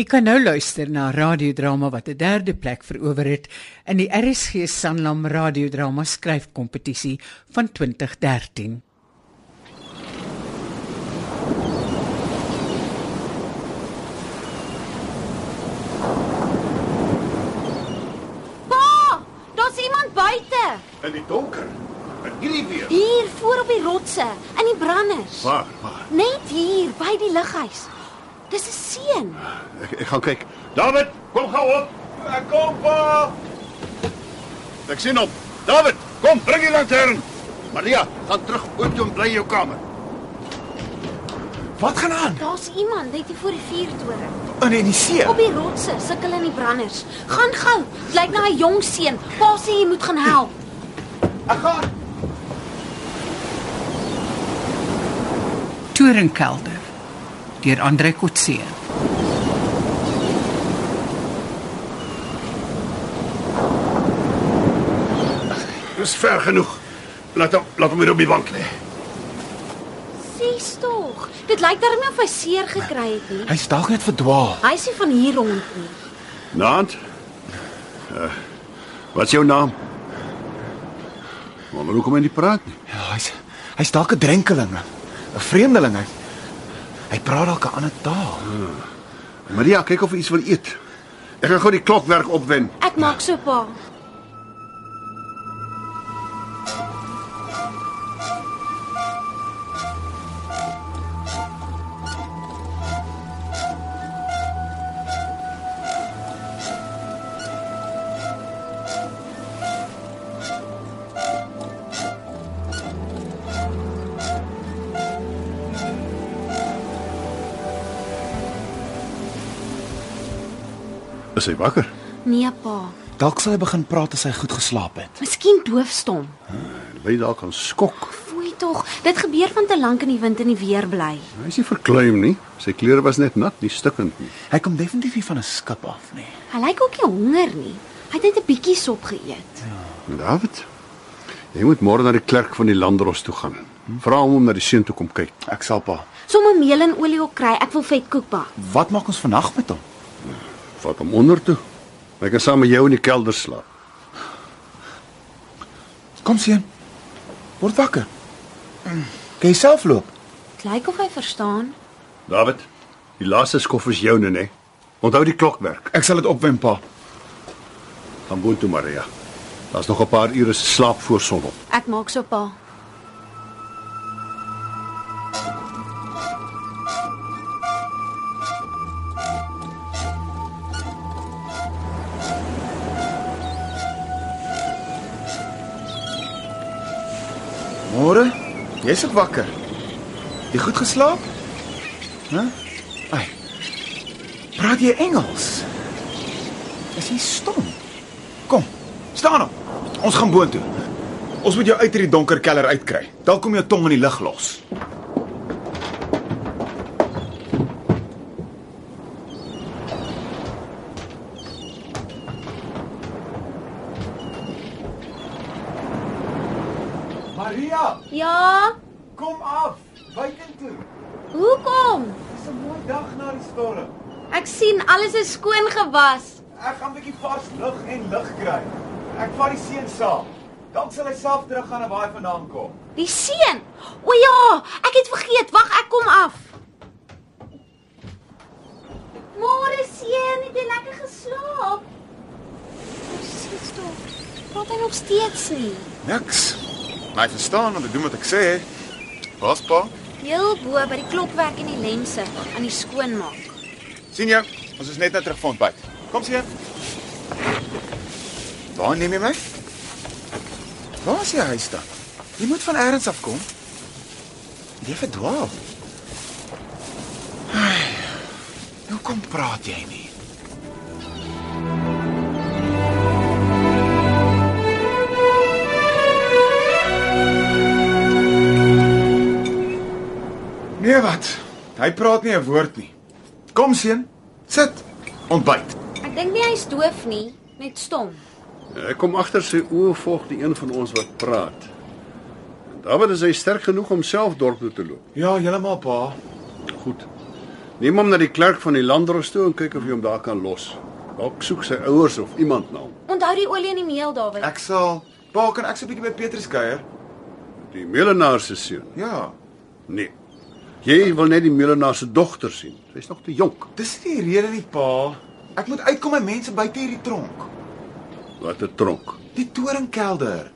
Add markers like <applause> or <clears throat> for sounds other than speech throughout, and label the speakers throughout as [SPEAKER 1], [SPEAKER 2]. [SPEAKER 1] Ek kan nou luister na radiodrama wat 'n derde plek verower het in die RSG Sanlam radiodrama skryfkompetisie van 2013.
[SPEAKER 2] Pa, daar's iemand buite.
[SPEAKER 3] In die donker. In hierdie weer.
[SPEAKER 2] Hier voor op die rotse, in die branders.
[SPEAKER 3] Waar, waar?
[SPEAKER 2] Net hier by die lighuis. Dis 'n seun.
[SPEAKER 3] Ek, ek gaan kyk. David, kom gou op. Ek kom pa. Ek sien op. David, kom bring die lantern. Maria, gaan terug oop toe en bly in jou kamer.
[SPEAKER 4] Wat gaan aan?
[SPEAKER 2] Daar's iemand net hier voor die vuurtoring.
[SPEAKER 4] In in Oh, nee, die see.
[SPEAKER 2] Op die rotse sukkel in die branders. Gaan gou. Dit lyk na 'n jong seun. Pa sê jy moet gaan help.
[SPEAKER 3] Ek gaan.
[SPEAKER 1] Torenkelder deur Andre Kotse.
[SPEAKER 3] Dis ver genoeg. Laat hom laat hom weer op die bank lê.
[SPEAKER 2] Sies tog. Dit lyk darem nie of hy seer gekry het nie.
[SPEAKER 4] Hy's dalk net verdwaal.
[SPEAKER 2] Hy sê van hier rond nie.
[SPEAKER 3] Naand. Uh, wat is jou naam? Maar hoekom jy nie praat nie?
[SPEAKER 4] Ja, hy's hy's dalk 'n drenkeling, 'n vreemdeling. Hy, hy praat dalk 'n ander taal.
[SPEAKER 3] Ah. Maria, kyk of jy iets wil eet. Ek gaan gou die klokwerk opwen.
[SPEAKER 2] Ek maak so pa.
[SPEAKER 3] Is hy wakker?
[SPEAKER 2] Nee pa.
[SPEAKER 4] Dalk sal hy begin praat as hy goed geslaap het.
[SPEAKER 2] Miskien doofstom.
[SPEAKER 3] Lei dalk aan skok.
[SPEAKER 2] Foei tog. Dit gebeur van te lank in die wind en die weer bly.
[SPEAKER 3] Hy is nie verkleum nie. Sy klere was net nat, nie stikkend nie.
[SPEAKER 4] Hy kom definitief nie van 'n skip af nie.
[SPEAKER 2] Hy lyk ook nie honger nie. Hy het net 'n bietjie sop geëet.
[SPEAKER 3] David, jy moet môre na die klerk van die landros toe gaan. Vra hom om na die seun toe kom kyk.
[SPEAKER 4] Ek sal pa.
[SPEAKER 2] Sommige meel en olie ook kry. Ek wil vetkoek bak.
[SPEAKER 4] Wat maak ons vandag met hom?
[SPEAKER 3] Vat hom onder toe. Hy kan saam met jou in die kelder slaap.
[SPEAKER 4] Kom seun. Word wakker. Mm. Kan jy self loop?
[SPEAKER 2] Dit lyk of hy verstaan.
[SPEAKER 3] David, die laaste skof is joune, né? Onthou die klokwerk.
[SPEAKER 4] Ek sal dit opwen pa.
[SPEAKER 3] Gaan boontoe, Maria. Daar's nog 'n paar ure se slaap voor sonop.
[SPEAKER 2] Ek maak so pa.
[SPEAKER 4] Môre? Jy's ook wakker. Jy goed geslaap? Hæ? Huh? Ai. Praat jy Engels? Is jy stom? Kom, staan op. Ons gaan boontoe. Ons moet jou uit hierdie donker keller uitkry. Dalk kom jou tong in die lug los. Maria,
[SPEAKER 2] Ja.
[SPEAKER 4] kom af. Buiten toe.
[SPEAKER 2] Hoekom?
[SPEAKER 4] Dis 'n mooi dag na die storm.
[SPEAKER 2] Ek sien alles is skoon gewas.
[SPEAKER 4] Ek gaan 'n bietjie vars lug en lug kry. Ek vat die seun saam. Dan sal hy self terug gaan na waar hy vandaan kom.
[SPEAKER 2] Die seun. O ja, ek het vergeet. Wag, ek kom af. Môre seun, het jy lekker geslaap? Presies tog. Praat hy nog steeds nie.
[SPEAKER 4] Niks. Hy verstaan wat ek doen wat ek sê. Waspa,
[SPEAKER 2] Heel bo by die klopwerk en die lense aan die skoonmaak.
[SPEAKER 4] sien jou, ons is net nou terug van ontbyt. Kom sien. Waar neem jy my? Waar is jy huis dan? Jy moet van elders af kom. Jy verdwaal. Ai, Hoe kom praat jy nie? Nee wat? Hy praat nie 'n woord nie. Kom seun, sit. Ontbyt.
[SPEAKER 2] Ek dink nie hy's doof nie, net stom.
[SPEAKER 3] Ek kom agter sy oë volg die een van ons wat praat. David is hy sterk genoeg om self dorp toe te loop.
[SPEAKER 4] Ja, heeltemal pa.
[SPEAKER 3] Goed. Neem hom na die klerk van die landdrosf toe en kyk of jy hom daar kan los. Dalk soek sy ouers of iemand na hom.
[SPEAKER 2] Onthou die olie en die meel, Dawid.
[SPEAKER 4] Ek sal Pa, kan ek so 'n bietjie by Petrus kuier?
[SPEAKER 3] Die Meulenaar se seun.
[SPEAKER 4] Ja.
[SPEAKER 3] Nee. Jy wil net die Meulenaar se dogter sien. Sy's nog te jonk.
[SPEAKER 4] Dis nie die rede nie, Pa. Ek moet uitkom by mense buite hierdie tronk.
[SPEAKER 3] Wat 'n tronk.
[SPEAKER 4] Die toringkelder.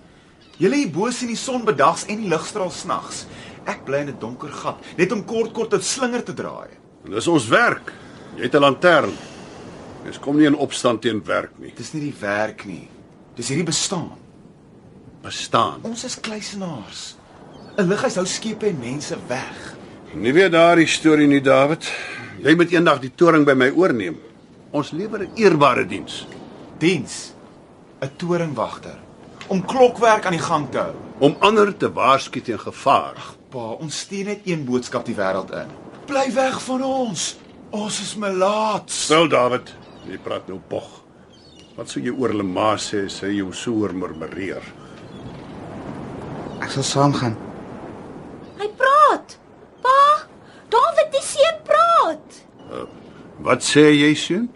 [SPEAKER 4] Julle hier bo sien die son bedags en die ligstraal snags. Ek bly in 'n donker gat, net om kort-kort 'n slinger te draai.
[SPEAKER 3] En dis ons werk. Jy het 'n lantern. Mens kom nie in opstand teen werk nie.
[SPEAKER 4] Dis nie die werk nie. Dis hierdie bestaan.
[SPEAKER 3] Bestaan.
[SPEAKER 4] Ons is kluisenaars. 'n Lighuis hou skepe en mense weg.
[SPEAKER 3] Nie weer daardie storie nie, David. Jy moet eendag die toring by my oorneem. Ons lewer 'n eerbare diens
[SPEAKER 4] Diens 'n toringwagter om klokwerk aan die gang te hou.
[SPEAKER 3] om ander te waarsku teen gevaar.
[SPEAKER 4] Pa, ons stuur net een boodskap die wêreld in. Bly weg van ons. Ons is melaats.
[SPEAKER 3] Stil, David. Jy praat nou pog. Wat sou jy oor hulle ma sê as hy jou so hoor murmureer?
[SPEAKER 4] Ek sal saamgaan.
[SPEAKER 2] Hy praat. Pa, Dawid die seun praat.
[SPEAKER 3] Wat sê jy, seun?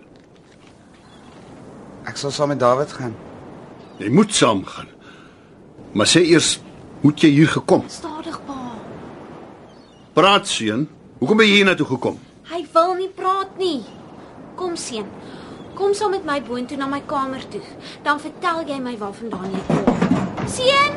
[SPEAKER 4] Ek sal saam met Dawid gaan.
[SPEAKER 3] Jy moet saamgaan. Maar sê eers, hoe het jy hier gekom?
[SPEAKER 2] Stadig, pa.
[SPEAKER 3] Praat, seun. Hoekom ben jy hiernatoe gekom?
[SPEAKER 2] Hy wil nie praat nie. Kom seun. Kom saam met my boontoe na my kamer toe. Dan vertel jy my waarvandaan jy kom. Seun!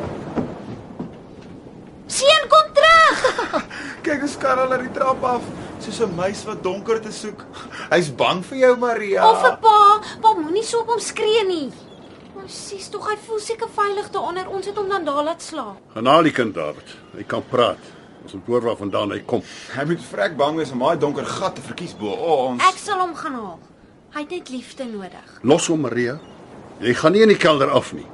[SPEAKER 2] Seun, kom terug. <laughs>
[SPEAKER 4] Kyk, ons kar al uit die trap af, soos 'n muis wat donker te soek. Hy's bang vir jou, Maria.
[SPEAKER 2] Of 'n pa, pa moenie so op hom skree nie. Ons sies tog hy voel seker veilig daaronder. Ons het hom dan daar laat slaap.
[SPEAKER 3] Gaan haal die kind David. Hy kan praat. Ons moet hoor waar vandaan hy kom.
[SPEAKER 4] Hy moet vrek bang wees om daai donker gat te verkies bo oh, ons.
[SPEAKER 2] Ek sal hom gaan haal. Hy het net liefde nodig.
[SPEAKER 3] Los hom Maria. Jy gaan nie in die kelder af nie.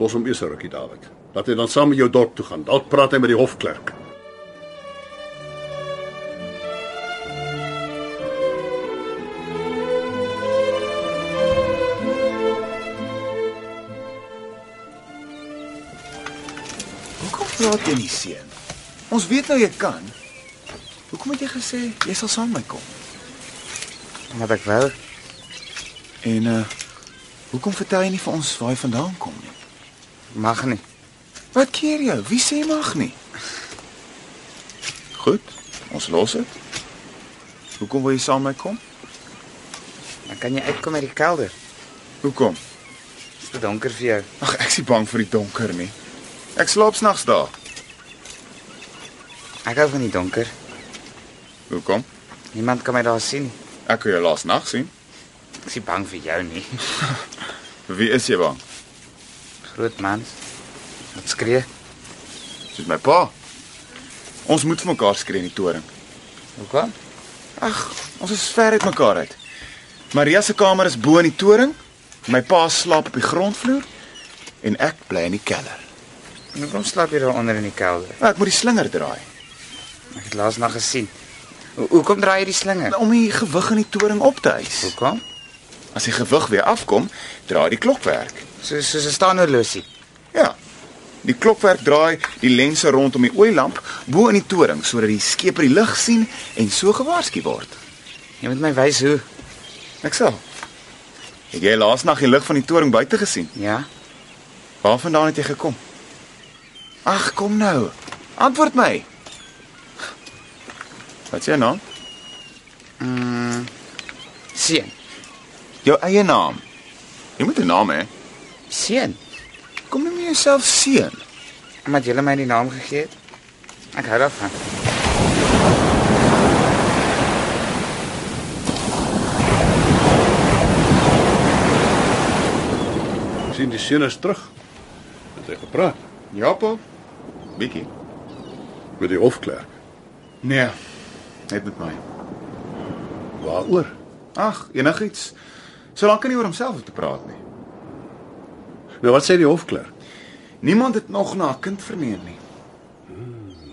[SPEAKER 3] Los hom eers 'n rukkie David. Laat hy dan saam met jou dorp toe gaan. Dalk praat hy met die hofklerk.
[SPEAKER 4] Hoekom praat jy nie seun? Ons weet nou jy kan. Hoekom het jy gesê jy sal saam met my kom?
[SPEAKER 5] Wat ek wou,
[SPEAKER 4] En uh hoekom vertel jy nie vir ons waar jy vandaan kom nie?
[SPEAKER 5] mag nie.
[SPEAKER 4] Wat keer jou? Wie sê mag nie? Goed, ons los dit. Hoekom wil jy saam met my kom?
[SPEAKER 5] Dan kan jy uitkom uit die kelder.
[SPEAKER 4] Hoekom?
[SPEAKER 5] Dis te donker vir jou.
[SPEAKER 4] Ag, ek is nie bang vir die donker nie. Ek slaap snags daar.
[SPEAKER 5] Ek hou van die donker.
[SPEAKER 4] Hoekom?
[SPEAKER 5] Niemand kan my daar sien. nie.
[SPEAKER 4] Ek kon jou laas nag sien.
[SPEAKER 5] Ek is nie bang vir jou nie. <laughs>
[SPEAKER 4] Wie is jy bang?
[SPEAKER 5] Groot mans. Wat skree?
[SPEAKER 4] Soos my pa. Ons moet vir mekaar skree in die toring.
[SPEAKER 5] Hoekom?
[SPEAKER 4] Ag, ons is ver uit mekaar uit. Maria se kamer is bo in die toring. My pa slaap op die grondvloer en ek bly in die kelder.
[SPEAKER 5] En Hoekom slaap jy daar onder in die kelder?
[SPEAKER 4] Ek moet die slinger draai
[SPEAKER 5] Ek het laas nag gesien. Ho hoekom draai jy die slinger?
[SPEAKER 4] om die gewig in die toring op te hys.
[SPEAKER 5] Hoekom?
[SPEAKER 4] As die gewig weer afkom, draai die klokwerk.
[SPEAKER 5] So soos 'n staanhorlosie.
[SPEAKER 4] Ja. Die klokwerk draai die lense rondom die oeilamp bo in die toring sodat die skeper die lig sien en so gewaarsku word.
[SPEAKER 5] Jy moet my wys hoe.
[SPEAKER 4] Ek sal. Het jy laasnag die lig van die toring buite gesien?
[SPEAKER 5] Ja.
[SPEAKER 4] Waarvandaan het jy gekom? Ag, kom nou. Antwoord my. Wat is jou naam?
[SPEAKER 5] Mm. Seun.
[SPEAKER 4] Jou eie naam. Jy moet 'n naam hê.
[SPEAKER 5] Seun.
[SPEAKER 4] Kom noem jy jouself seun.
[SPEAKER 5] Omdat jy my die naam gegee het. Ek hou daarvan.
[SPEAKER 3] sien die seun is terug. Het hy gepraat
[SPEAKER 4] Ja, pa. Bietjie.
[SPEAKER 3] met die hofklerk?
[SPEAKER 4] Nee. Net met my.
[SPEAKER 3] Waaroor?
[SPEAKER 4] Ag, enigiets. Solank hy nie oor homself hoef te praat nie.
[SPEAKER 3] Nou wat sê die hofklerk?
[SPEAKER 4] Niemand het nog na 'n kind verneem nie.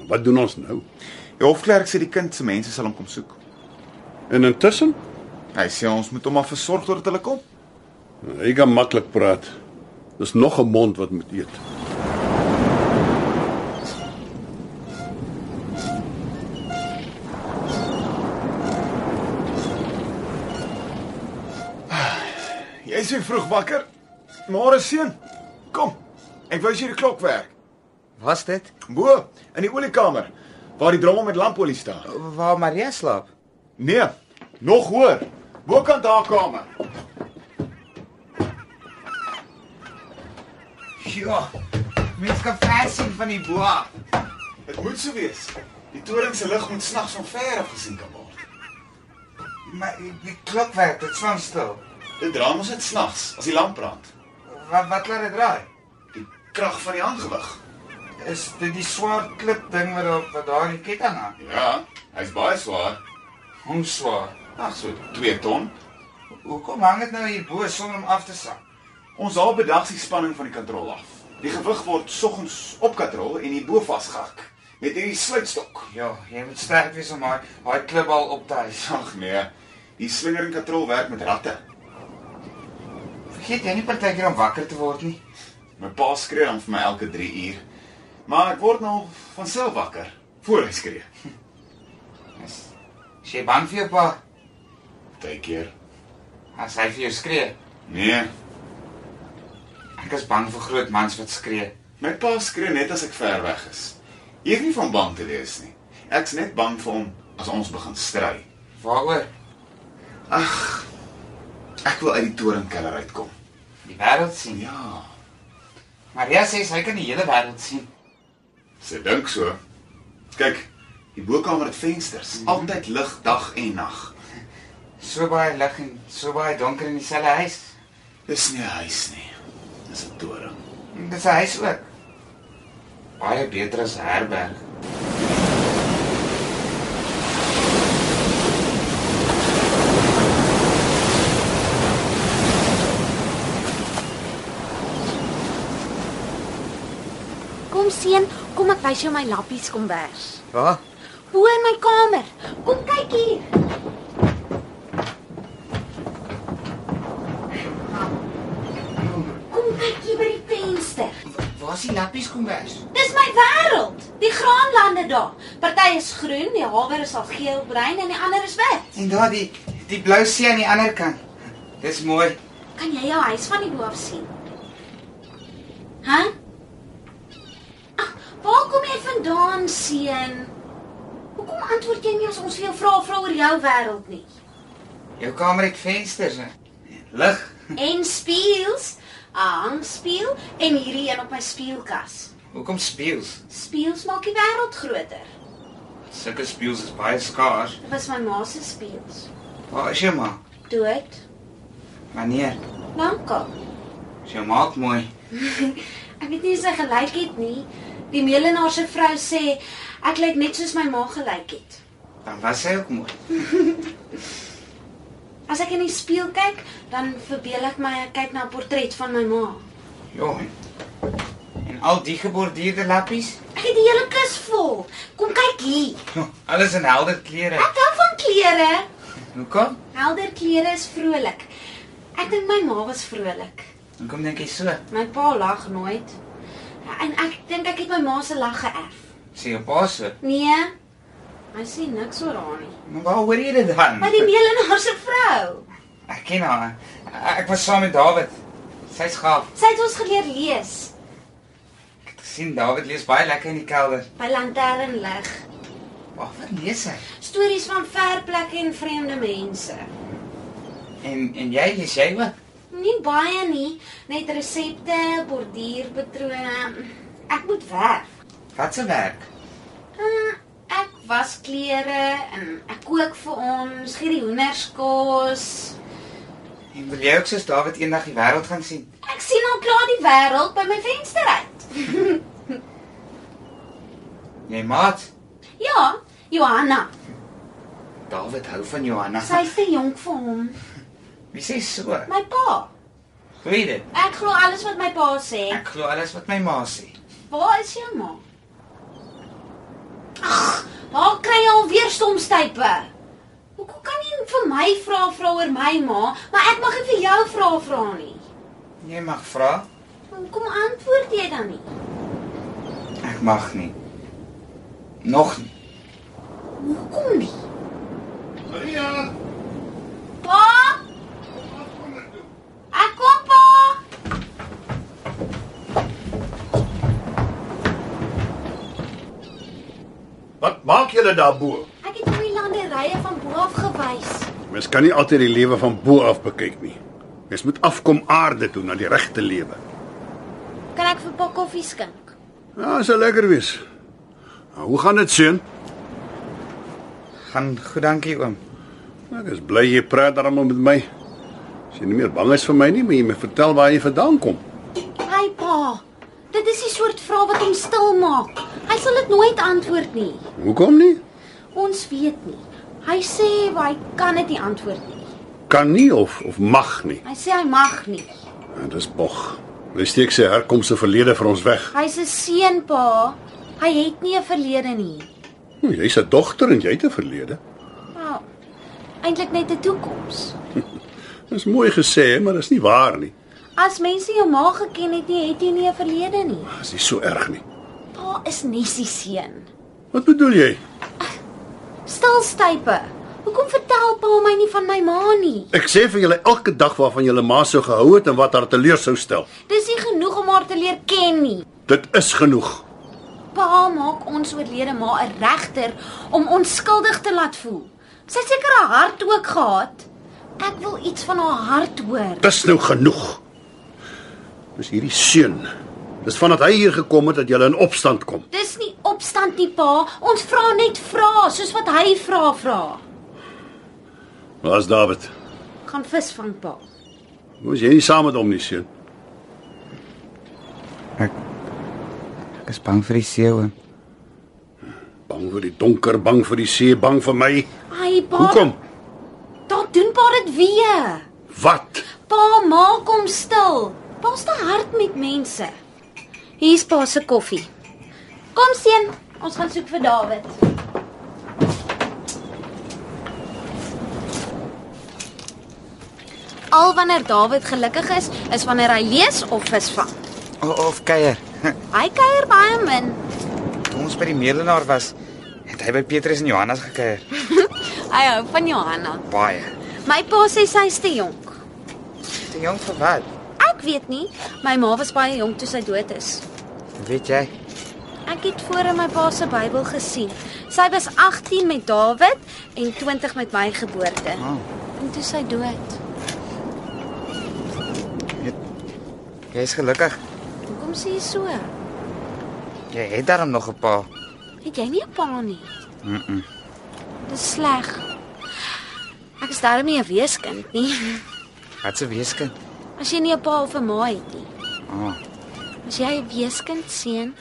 [SPEAKER 3] Wat doen ons nou?
[SPEAKER 4] Die hofklerk sê die kind se mense sal hom kom soek.
[SPEAKER 3] En intussen,
[SPEAKER 4] Hy sê ons moet hom maar versorg totdat hulle kom.
[SPEAKER 3] hy kan maklik praat. Dis nog 'n mond wat moet eet.
[SPEAKER 4] Jy's weer vroeg wakker. Môre seun. Kom. Ek wys jou die klokwerk.
[SPEAKER 5] Was dit
[SPEAKER 4] Bo in die oliekamer waar die drommel met lampolie staan.
[SPEAKER 5] waar Maria slaap?
[SPEAKER 4] Nee, nog hoor. Bokant haar kamer.
[SPEAKER 5] Ja. Mens kan ver sien van die bo.
[SPEAKER 4] Dit moet so wees. Die toring se lig moet snags van ver af gesien kan word.
[SPEAKER 5] Maar die klokwerk, dit staan stil.
[SPEAKER 4] Dit dra ons dit snags as die lamp brand.
[SPEAKER 5] Wat wat laat dit raai?
[SPEAKER 4] Die krag van die aangewig.
[SPEAKER 5] Is dit die swart klip ding wat op wat daar in die ketting hang?
[SPEAKER 4] Ja, hy's baie swaar.
[SPEAKER 5] Hoe swaar?
[SPEAKER 4] Ag so 2 ton.
[SPEAKER 5] Hoekom hang dit nou hier bo sonder om af te sak?
[SPEAKER 4] Ons haal bedags die spanning van die katrol af. Die gewig word soggens op katrol en hier bo vasgehak met hierdie sluitstok.
[SPEAKER 5] Ja, jy moet sterk wees om haar haar klip al op te hys.
[SPEAKER 4] Ag nee, die slinger en katrol werk met ratte.
[SPEAKER 5] <laughs> Vergeet jy nie partykeer om wakker te word nie.
[SPEAKER 4] My pa skree dan vir my elke 3 uur. Maar ek word nou van self wakker voor hy skree.
[SPEAKER 5] Is is jy bang vir jou pa
[SPEAKER 4] Partykeer.
[SPEAKER 5] as hy vir jou skree?
[SPEAKER 4] Nee,
[SPEAKER 5] Ek is bang vir groot mans wat skree.
[SPEAKER 4] my pa skree net as ek ver weg is. Jy hoef nie van bang te wees nie. Ek's net bang vir hom as ons begin stry.
[SPEAKER 5] Waaroor?
[SPEAKER 4] Ek wil uit die torenkeller uitkom.
[SPEAKER 5] Die wêreld sien.
[SPEAKER 4] Ja,
[SPEAKER 5] Maria sê sy kan die hele wêreld sien.
[SPEAKER 4] sy dink so. Kyk, die bokamer het vensters,
[SPEAKER 3] Mhm.
[SPEAKER 4] altyd lig dag en nag.
[SPEAKER 5] So baie lig en so baie donker in dieselfde huis.
[SPEAKER 4] Dis nie 'n huis nie. Dis 'n toren.
[SPEAKER 5] En Dis 'n huis ook. Baie beter as 'n herberg.
[SPEAKER 2] Kom seun, kom ek wys jou my lappies kombers.
[SPEAKER 5] Waar?
[SPEAKER 2] Bo in my kamer. Kom kyk hier. Kom kyk hier by die venster.
[SPEAKER 5] Waar's die lappies kombers?
[SPEAKER 2] Dis my wêreld. Die graanlande daar. Party is groen, die hawer is al geelbruin en die ander is wit.
[SPEAKER 5] En daar die die blou see aan die ander kant. Dis mooi.
[SPEAKER 2] Kan jy jou huis van die bo af sien? Hæ? Ag, waar kom jy vandaan, seun? Hoekom antwoord jy nie as ons vir jou vra vra oor jou wêreld nie?
[SPEAKER 5] Jou kamer het vensters. hè? Lig.
[SPEAKER 2] En speels, 'n hangspeel en hierdie een op my speelkas.
[SPEAKER 5] Hoekom speels?
[SPEAKER 2] Speels maak die wêreld groter.
[SPEAKER 5] Sulke speels is baie skaars.
[SPEAKER 2] Dit was my ma se speels.
[SPEAKER 5] Waar is jou ma?
[SPEAKER 2] Dood,
[SPEAKER 5] Wanneer?
[SPEAKER 2] lankal.
[SPEAKER 5] Is jou ma ook mooi?
[SPEAKER 2] <laughs> Ek weet nie of sy gelyk het nie. Die meelenaar se vrou sê ek lyk net soos my ma gelyk het.
[SPEAKER 5] Dan was sy ook mooi.
[SPEAKER 2] As ek in die spieël kyk, dan verbeel ek my ek kyk na 'n portret van my ma.
[SPEAKER 5] Ja. en- En al die geborduurde lappies?
[SPEAKER 2] Ek het die hele kus vol. Kom kyk hier.
[SPEAKER 5] Ja. Alles in helder kleure.
[SPEAKER 2] Ek hou van klere.
[SPEAKER 5] Hoekom?
[SPEAKER 2] Helder klere is vrolik. Ek dink my ma was vrolik.
[SPEAKER 5] Hoekom dink jy so?
[SPEAKER 2] My pa lag nooit. En ek dink ek het my ma se lag geërf.
[SPEAKER 5] Sê jou pa so.
[SPEAKER 2] Nee. Hy sê niks oor haar nie.
[SPEAKER 5] Maar waar hoor jy dit dan?
[SPEAKER 2] Maar die meelenaar se vrou.
[SPEAKER 5] Ek ken haar. Ek was saam met Dawid. Sy's gaaf.
[SPEAKER 2] Sy het ons geleer lees
[SPEAKER 5] Ek het gesien Dawid lees baie lekker in die kelder.
[SPEAKER 2] by lanternlig.
[SPEAKER 5] Waar wat lees hy?
[SPEAKER 2] Stories van ver plekke en vreemde mense.
[SPEAKER 5] En en jy lees jy ook?
[SPEAKER 2] Nie baie nie, net resepte, borduurpatrone. Ek moet werk.
[SPEAKER 5] Wat se werk?
[SPEAKER 2] Uh, ek was klere en ek kook vir ons, gee die hoenders kos.
[SPEAKER 5] En wil jy ook soos Dawid eendag die wêreld gaan sien?
[SPEAKER 2] Ek sien al klaar die wêreld by my venster uit.
[SPEAKER 5] Jy maat.
[SPEAKER 2] Ja, Johanna.
[SPEAKER 5] Dawid hou van Johanna.
[SPEAKER 2] Sy's te jonk vir hom.
[SPEAKER 5] Wie sê so?
[SPEAKER 2] My pa.
[SPEAKER 5] Glo jy dit?
[SPEAKER 2] Ek glo alles wat my pa sê.
[SPEAKER 5] Ek glo alles wat my ma sê.
[SPEAKER 2] Waar is jou ma? Ag, waar kry jy alweer stomstype? Hoekom kan jy vir my vra vra oor my ma, maar ek mag nie vir jou vra vra nie?
[SPEAKER 5] Jy mag vra.
[SPEAKER 2] Hoekom antwoord jy dan nie?
[SPEAKER 5] Ek mag nie. Nog nie.
[SPEAKER 2] Hoekom nie?
[SPEAKER 3] Maria,
[SPEAKER 2] Pa,
[SPEAKER 3] kom maar toe.
[SPEAKER 2] ek
[SPEAKER 3] maak julle daarbo?
[SPEAKER 2] Ek het hoe landerye van bo af gewys.
[SPEAKER 3] Mens kan nie altyd die lewe van bo af bekyk nie. Mens moet afkom aarde toe na die regte lewe.
[SPEAKER 2] Kan ek vir pa koffie skink?
[SPEAKER 3] Ja, sal lekker wees. Nou, hoe gaan dit seun?
[SPEAKER 5] Gaan goed dankie oom.
[SPEAKER 3] Ek is bly jy praat daarmee met my. As jy nie meer bang is vir my nie, moet jy my vertel waar jy vandaan kom.
[SPEAKER 2] Hy pa. Dit is die soort vraag wat hom stil maak. Hy sal dit nooit antwoord nie.
[SPEAKER 3] Hoekom nie?
[SPEAKER 2] Ons weet nie. Hy sê hy kan dit nie antwoord nie.
[SPEAKER 3] Kan nie of of mag nie.
[SPEAKER 2] Hy sê hy mag nie.
[SPEAKER 3] En dis bog. Hy steek sy herkoms se verlede vir ons weg.
[SPEAKER 2] Hy's 'n seun pa. Hy het nie 'n verlede nie.
[SPEAKER 3] Hm, Jy's 'n dogter en jy het 'n verlede.
[SPEAKER 2] Nou, eintlik net 'n toekoms.
[SPEAKER 3] Dis mooi gesê, maar dis nie waar nie.
[SPEAKER 2] As mense jou ma geken het nie, het jy nie 'n verlede nie.
[SPEAKER 3] Dis Ah, nie so erg nie.
[SPEAKER 2] Pa is Nessie seun.
[SPEAKER 3] Wat bedoel jy?
[SPEAKER 2] Stilstype. Hoekom vertel pa my nie van my ma nie?
[SPEAKER 3] Ek sê vir julle elke dag waarvan julle ma sou gehou het en wat haar teleur sou stel.
[SPEAKER 2] Dis nie genoeg om haar te leer ken nie.
[SPEAKER 3] Dit is genoeg.
[SPEAKER 2] Pa maak ons oorlede ma 'n regter om onskuldig te laat voel. Sy het seker 'n hart ook gehad. Ek wil iets van haar hart hoor.
[SPEAKER 3] Dis nou genoeg. Dis hierdie seun. Dis vandat hy hier gekom het dat julle in opstand kom.
[SPEAKER 2] Dis nie opstand nie, pa. Ons vra net vrae soos wat hy vra vra.
[SPEAKER 3] Waar's David?
[SPEAKER 2] Gaan visvang, pa.
[SPEAKER 3] Moes jy nie saam met hom nie, seun?
[SPEAKER 5] Ek ek is bang vir die see oom.
[SPEAKER 3] Bang vir die donker, bang vir die see, bang vir my.
[SPEAKER 2] Ai, pa.
[SPEAKER 3] Hoekom?
[SPEAKER 2] Dan doen pa dit weer.
[SPEAKER 3] Wat?
[SPEAKER 2] Pa maak hom stil. Pa's te hard met mense. Hier's pa se koffie. Kom seun, ons gaan soek vir Dawid. Al wanneer Dawid gelukkig is, is wanneer hy lees of visvang.
[SPEAKER 5] O, of kuier. <laughs>
[SPEAKER 2] Hy kuier baie min.
[SPEAKER 5] Toe ons by die Medelaar was, het hy by Petrus en Johannes gekuier.
[SPEAKER 2] Hy hou van Johanna.
[SPEAKER 5] Baie.
[SPEAKER 2] My pa sê sy's te jonk.
[SPEAKER 5] Te jong vir wat?
[SPEAKER 2] Ek weet nie, my ma was baie jonk toe sy dood is.
[SPEAKER 5] Weet jy?
[SPEAKER 2] Ek het voor in my pa se Bybel gesien. Sy was 18 met Dawid en 20 met my geboorte.
[SPEAKER 5] Oh.
[SPEAKER 2] En toe sy dood.
[SPEAKER 5] Jy's gelukkig.
[SPEAKER 2] Hoekom sê jy so?
[SPEAKER 5] Jy het darm nog 'n pa.
[SPEAKER 2] Het jy nie 'n pa nie? Mm. Dis sleg. Ek is darem nie 'n weeskind nie. <laughs>
[SPEAKER 5] Wat se weeskind.
[SPEAKER 2] As jy nie 'n pa of 'n ma het nie.
[SPEAKER 5] Ah.
[SPEAKER 2] As jy 'n weeskind seun,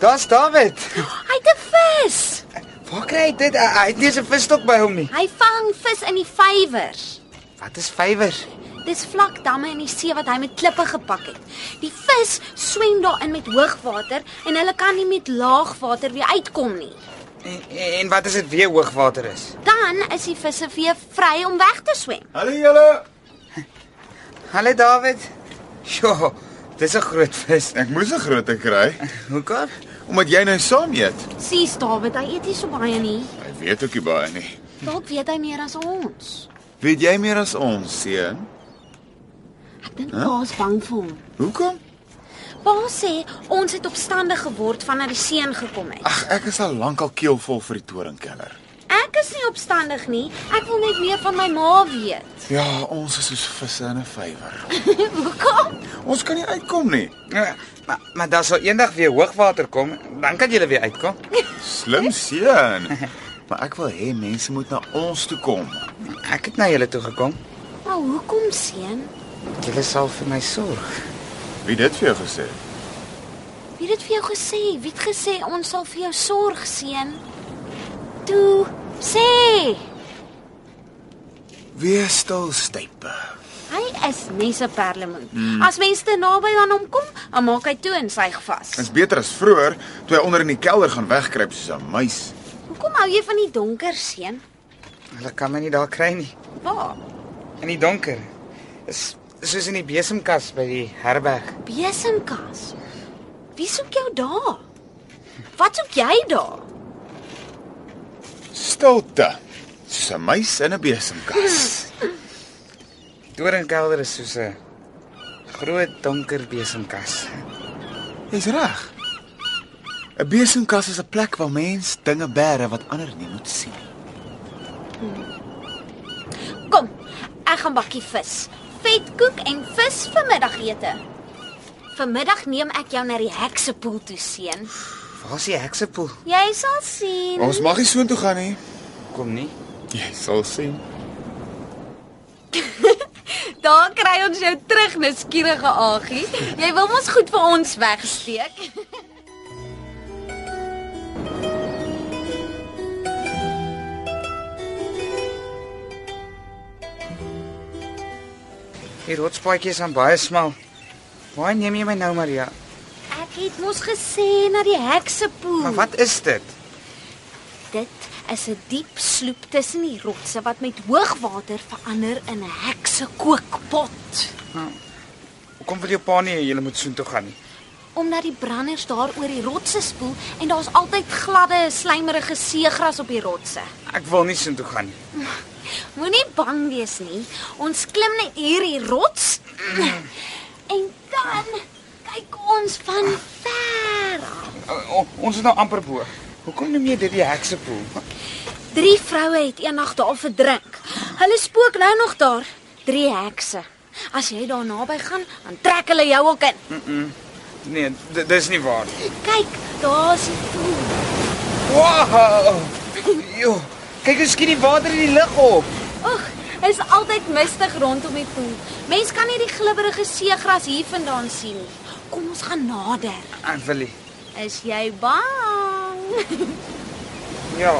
[SPEAKER 5] Daar's David.
[SPEAKER 2] hy het 'n vis.
[SPEAKER 5] Waar kry hy dit? Hy hy het nie eens 'n visstok by hom nie.
[SPEAKER 2] Hy vang vis in die vyvers.
[SPEAKER 5] Wat is vyvers?
[SPEAKER 2] Dis vlak damme in die see wat hy met klippe gepak het. Die vis swem daarin met hoogwater en hulle kan nie met laagwater weer uitkom nie.
[SPEAKER 5] En, en, en wat as dit weer hoogwater is?
[SPEAKER 2] Dan is die visse weer vry om weg te swem.
[SPEAKER 3] Hallo julle.
[SPEAKER 5] Hallo David. Jo, dis 'n groot vis.
[SPEAKER 4] Ek moes 'n groter kry
[SPEAKER 5] Hoekom?
[SPEAKER 4] omdat jy nou saam eet.
[SPEAKER 2] Sies Dawid, hy eet nie so baie nie.
[SPEAKER 4] Ek weet ook nie baie nie.
[SPEAKER 2] Dalk weet hy meer as ons.
[SPEAKER 4] Weet jy meer as ons, seun?
[SPEAKER 2] Ek dink huh? pa's bang vir hom.
[SPEAKER 4] Hoekom?
[SPEAKER 2] Pa sê ons het opstandig geword vanaf die seun gekom het.
[SPEAKER 4] Ag, ek is al lankal keelvol vir die toringkeller.
[SPEAKER 2] Ek is nie opstandig nie. Ek wil net meer van my ma weet.
[SPEAKER 4] Ja, ons is soos visse in 'n vyver.
[SPEAKER 2] Hoekom?
[SPEAKER 4] Ons kan nie uitkom nie.
[SPEAKER 5] Ja, Maar maar daar sal eendag weer hoogwater kom, dan kan jy weer uitkom.
[SPEAKER 4] Slim seun. Maar ek wil hê mense moet na ons toe kom.
[SPEAKER 5] Ek het na julle toe gekom.
[SPEAKER 2] Maar hoekom seun?
[SPEAKER 5] Julle sal vir my sorg.
[SPEAKER 4] Wie dit vir jou gesê?
[SPEAKER 2] Wie het dit vir jou gesê? Wie het gesê ons sal vir jou sorg, seun? Toe sê,
[SPEAKER 4] Wees stil, stype.
[SPEAKER 2] hy is nie se perlemoen. Hmm. As mense te naby aan hom kom, dan maak hy toe en sy gevas.
[SPEAKER 4] Dis beter as vroeër toe hy onder in die kelder gaan wegkruip soos 'n muis.
[SPEAKER 2] Hoekom hou jy van die donker, seun?
[SPEAKER 5] Hulle kan my nie daar kry nie.
[SPEAKER 2] Waar?
[SPEAKER 5] In die donker. Is soos in die besemkas by die herberg.
[SPEAKER 2] Besenkas. Wie soek jou daar? Wat soek jy daar?
[SPEAKER 4] Stilte. Soos 'n muis in 'n besemkas.
[SPEAKER 5] Die Toringkelder is er soos 'n groot donker besemkas.
[SPEAKER 4] Jy's reg. Hm. 'n Besenkas is 'n plek waar mens dinge bære wat ander nie moet sien.
[SPEAKER 2] Kom, ek gaan bakkie vis. Vetkoek en vis vir middagete. Vanmiddag neem ek jou na die heksepoel toe seun.
[SPEAKER 5] Waar's die heksepoel?
[SPEAKER 2] Jy sal sien.
[SPEAKER 4] Ons mag nie soontoe gaan nie.
[SPEAKER 5] Kom nie.
[SPEAKER 4] Jy sal sien.
[SPEAKER 2] Daar kry ons jou terug, nuuskierige Agie. Jy wil mos goed vir ons wegsteek.
[SPEAKER 5] Die rotspaadjie is aan baie smal. Waar neem jy my nou, Maria?
[SPEAKER 2] Ek het mos gesê na die heksepoel.
[SPEAKER 5] Maar wat is dit?
[SPEAKER 2] Dit is 'n diep sloep tussen die rotse wat met hoogwater verander in 'n heksekookpot.
[SPEAKER 5] Hoekom wil jou pa nie hê jy moet soontoe gaan nie?
[SPEAKER 2] Omdat die branders daar oor die rotse spoel en daar's altyd gladde, slijmerige seegras op die rotse.
[SPEAKER 5] Ek wil nie soontoe gaan nie.
[SPEAKER 2] Moenie bang wees nie. Ons klim net hierdie rots.
[SPEAKER 5] Mm.
[SPEAKER 2] <clears throat> En dan kyk ons van ver. af.
[SPEAKER 5] O, o, ons is nou amper bo. Hoekom noem jy dit die heksepoel?
[SPEAKER 2] Drie vroue het eendag daar verdrink. Hulle spook nou nog daar, drie hekse. As jy daar naby gaan, dan trek hulle jou ook in.
[SPEAKER 5] Nee, di- dis nie waar nie.
[SPEAKER 2] Kyk, daar's die poel.
[SPEAKER 5] Wow! Jo, kyk hoe skiet die water in die lug op.
[SPEAKER 2] Oeg, is altyd mistig rondom die poel. Mens kan nie die glibberige seegras hier vandaan sien nie. Kom ons gaan nader.
[SPEAKER 5] Ek wil nie.
[SPEAKER 2] Is jy bang? <laughs>
[SPEAKER 5] Ja.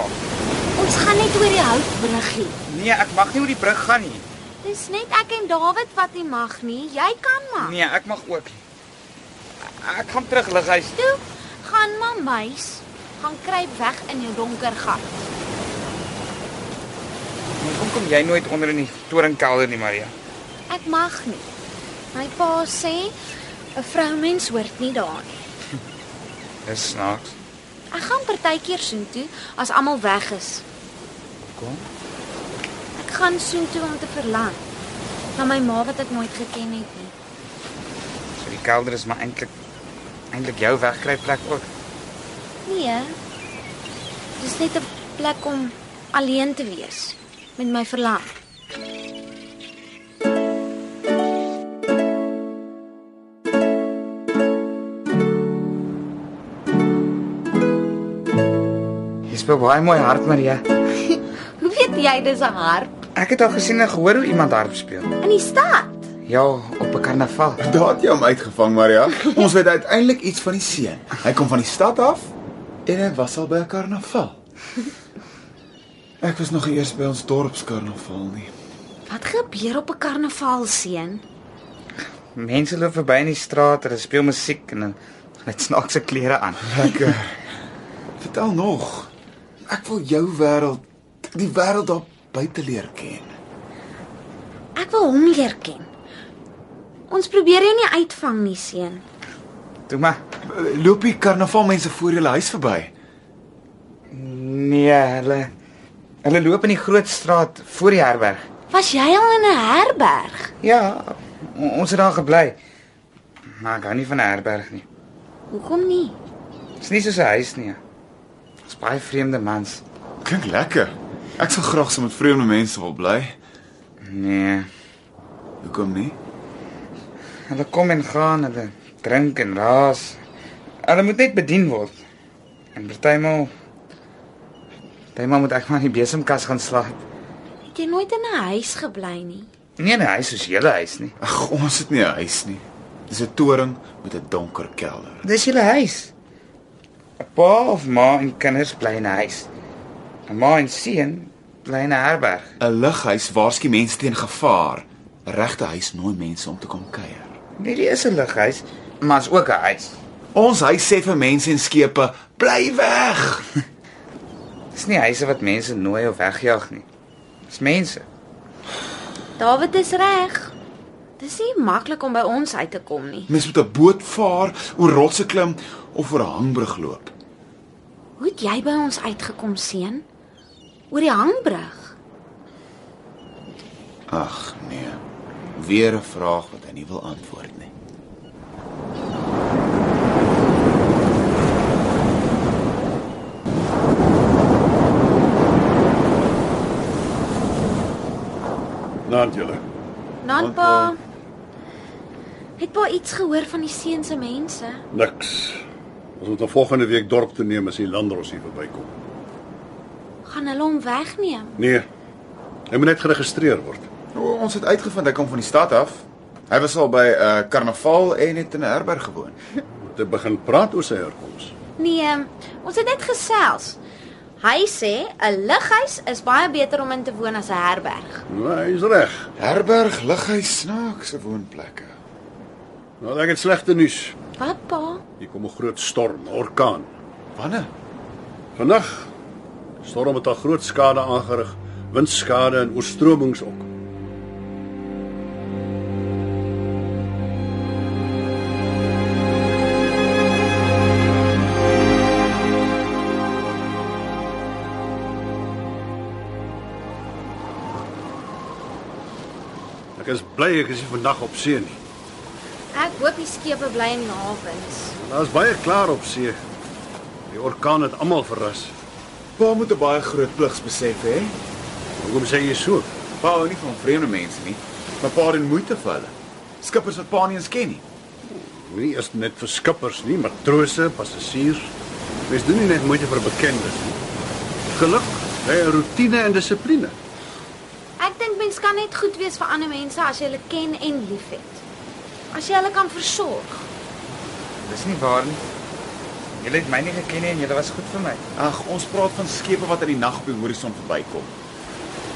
[SPEAKER 2] Ons gaan net oor die houtbruggie.
[SPEAKER 5] Nee, ek mag nie oor die brug gaan nie.
[SPEAKER 2] Dis net ek en Dawid wat nie mag nie. Jy kan maar.
[SPEAKER 5] Nee, ek mag ook nie. Ek gaan terug lig huis.
[SPEAKER 2] Toe, gaan maar muis. Gaan kruip weg in jou donker gat.
[SPEAKER 5] Hoekom kom jy nooit onder in die toringkelder nie, Maria?
[SPEAKER 2] Ek mag nie. My pa sê 'n vroumens hoort nie daar nie.
[SPEAKER 5] Dis snaaks.
[SPEAKER 2] Ek gaan partykeer soontoe as almal weg is.
[SPEAKER 5] Kom.
[SPEAKER 2] Ek gaan soontoe om te verlang na my ma wat ek nooit geken het nie.
[SPEAKER 5] So die kelder is maar eintlik eintlik jou wegkruipplek ook.
[SPEAKER 2] Nee. Dis net 'n plek om alleen te wees met my verlang.
[SPEAKER 5] Jy speel baie mooi harp, Maria.
[SPEAKER 2] Hoe weet jy dis 'n harp
[SPEAKER 5] Ek het al gesien en gehoor hoe iemand harp speel.
[SPEAKER 2] in die stad?
[SPEAKER 5] Ja, op 'n karnaval.
[SPEAKER 4] Daar het jy hom uitgevang, Maria. Ons weet uiteindelik iets van die seun. Hy kom van die stad af en hy was al by 'n karnaval. Ek was nog nie eers by ons dorpskarnaval nie.
[SPEAKER 2] Wat gebeur op 'n karnaval seun?
[SPEAKER 5] Mense loop verby in die straat, hulle speel musiek en hulle het snaakse klere aan.
[SPEAKER 4] Lekker. eh, Vertel nog. Ek wil jou wêreld, die wêreld daar buite leer ken.
[SPEAKER 2] Ek wil hom leer ken. Ons probeer jou nie uitvang nie seun.
[SPEAKER 5] Toe maar.
[SPEAKER 4] Loop die karnavalmense voor julle huis verby.
[SPEAKER 5] Nee, hulle hulle loop in die groot straat voor die herberg.
[SPEAKER 2] Was jy al in 'n herberg?
[SPEAKER 5] Ja, o- ons het daar gebly. Maar ek hou nie van 'n herberg nie.
[SPEAKER 2] Hoekom nie?
[SPEAKER 5] Dit is nie soos 'n huis nie. Dit is baie vreemde mans.
[SPEAKER 4] Klink lekker. Ek sal graag saam met vreemde mense wil bly.
[SPEAKER 5] Nee,
[SPEAKER 4] Hoekom nie?
[SPEAKER 5] hulle kom en gaan, hulle drink en raas. Hulle moet net bedien word. En partymal partymal moet ek maar in die besemkas gaan slaap.
[SPEAKER 2] Het jy nooit in 'n huis gebly nie?
[SPEAKER 5] Nee, nee, huis is julle huis nie.
[SPEAKER 4] Ag, ons het nie 'n huis nie. Dis 'n toring met 'n donker kelder.
[SPEAKER 5] Dis julle huis. 'n Pa of ma en kinders bly in 'n huis. 'n Ma en seun bly in 'n herberg.
[SPEAKER 4] 'n Lighuis waarsku mense teen gevaar. 'n Regte huis nooi mense om te kom kuier.
[SPEAKER 5] Nee, dit is 'n lighuis, maar is ook 'n huis.
[SPEAKER 4] Ons huis sê vir mense en skepe, bly weg.
[SPEAKER 5] Dis nie huise wat mense nooi of wegjaag nie. Dis mense.
[SPEAKER 2] Dawid is reg. Dis nie maklik om by ons uit te kom nie.
[SPEAKER 4] Mens moet 'n boot vaar, oor rotse klim of oor 'n hangbrug loop.
[SPEAKER 2] Hoe het jy by ons uitgekom seun? Oor die hangbrug.
[SPEAKER 4] Ag nee. Weer 'n vraag wat hy nie wil antwoord nie.
[SPEAKER 3] Naam julle.
[SPEAKER 2] Nan pa. Het pa iets gehoor van die seun se mense?
[SPEAKER 3] Niks. Ons moet nog volgende week dorp toe neem as die landros hier verbykom.
[SPEAKER 2] Gaan hulle hom wegneem?
[SPEAKER 3] Nee. Hy moet net geregistreer word.
[SPEAKER 6] O, ons het uitgevind hy kom van die stad af. Hy was al by 'n uh, karnaval en het in 'n herberg gewoon.
[SPEAKER 3] Moet hy begin praat oor sy herkoms.
[SPEAKER 2] Nee, ehm, ons het net gesels. Hy sê 'n lighuis is baie beter om in te woon as 'n herberg.
[SPEAKER 3] Nou, hy is reg.
[SPEAKER 6] Herberg, lighuis, snaakse woonplekke.
[SPEAKER 3] Nou, ek het slegte nuus.
[SPEAKER 2] Wat pa?
[SPEAKER 3] Hier kom 'n groot storm, 'n orkaan.
[SPEAKER 6] Wanneer?
[SPEAKER 3] Vandag storm het al groot skade aangerig, windskade en oorstromings ook. Ek is bly ek is nie vandag op see nie.
[SPEAKER 2] Ek hoop die skepe bly in die hawens.
[SPEAKER 3] Daar's baie klaar op see. Die orkaan het almal verras.
[SPEAKER 6] Pa moet 'n baie groot pligs besef hê.
[SPEAKER 3] Hoekom sê jy so?
[SPEAKER 6] Pa hou nie van vreemde mense nie, maar pa doen moeite vir hulle. Skippers wat pa nie eens ken nie.
[SPEAKER 3] Nie is net vir skippers nie, matrose, passasiers. Mens doen nie net moeite vir bekendes nie. Geluk, hy 'n rotine en dissipline.
[SPEAKER 2] Ek dink mens kan net goed wees vir ander mense as jy hulle ken en liefhet. As jy hulle kan versorg.
[SPEAKER 5] Dis nie waar nie. Julle het my nie geken nie en julle was goed vir my.
[SPEAKER 6] Ag, ons praat van skepe wat in die nag op die horison verbykom.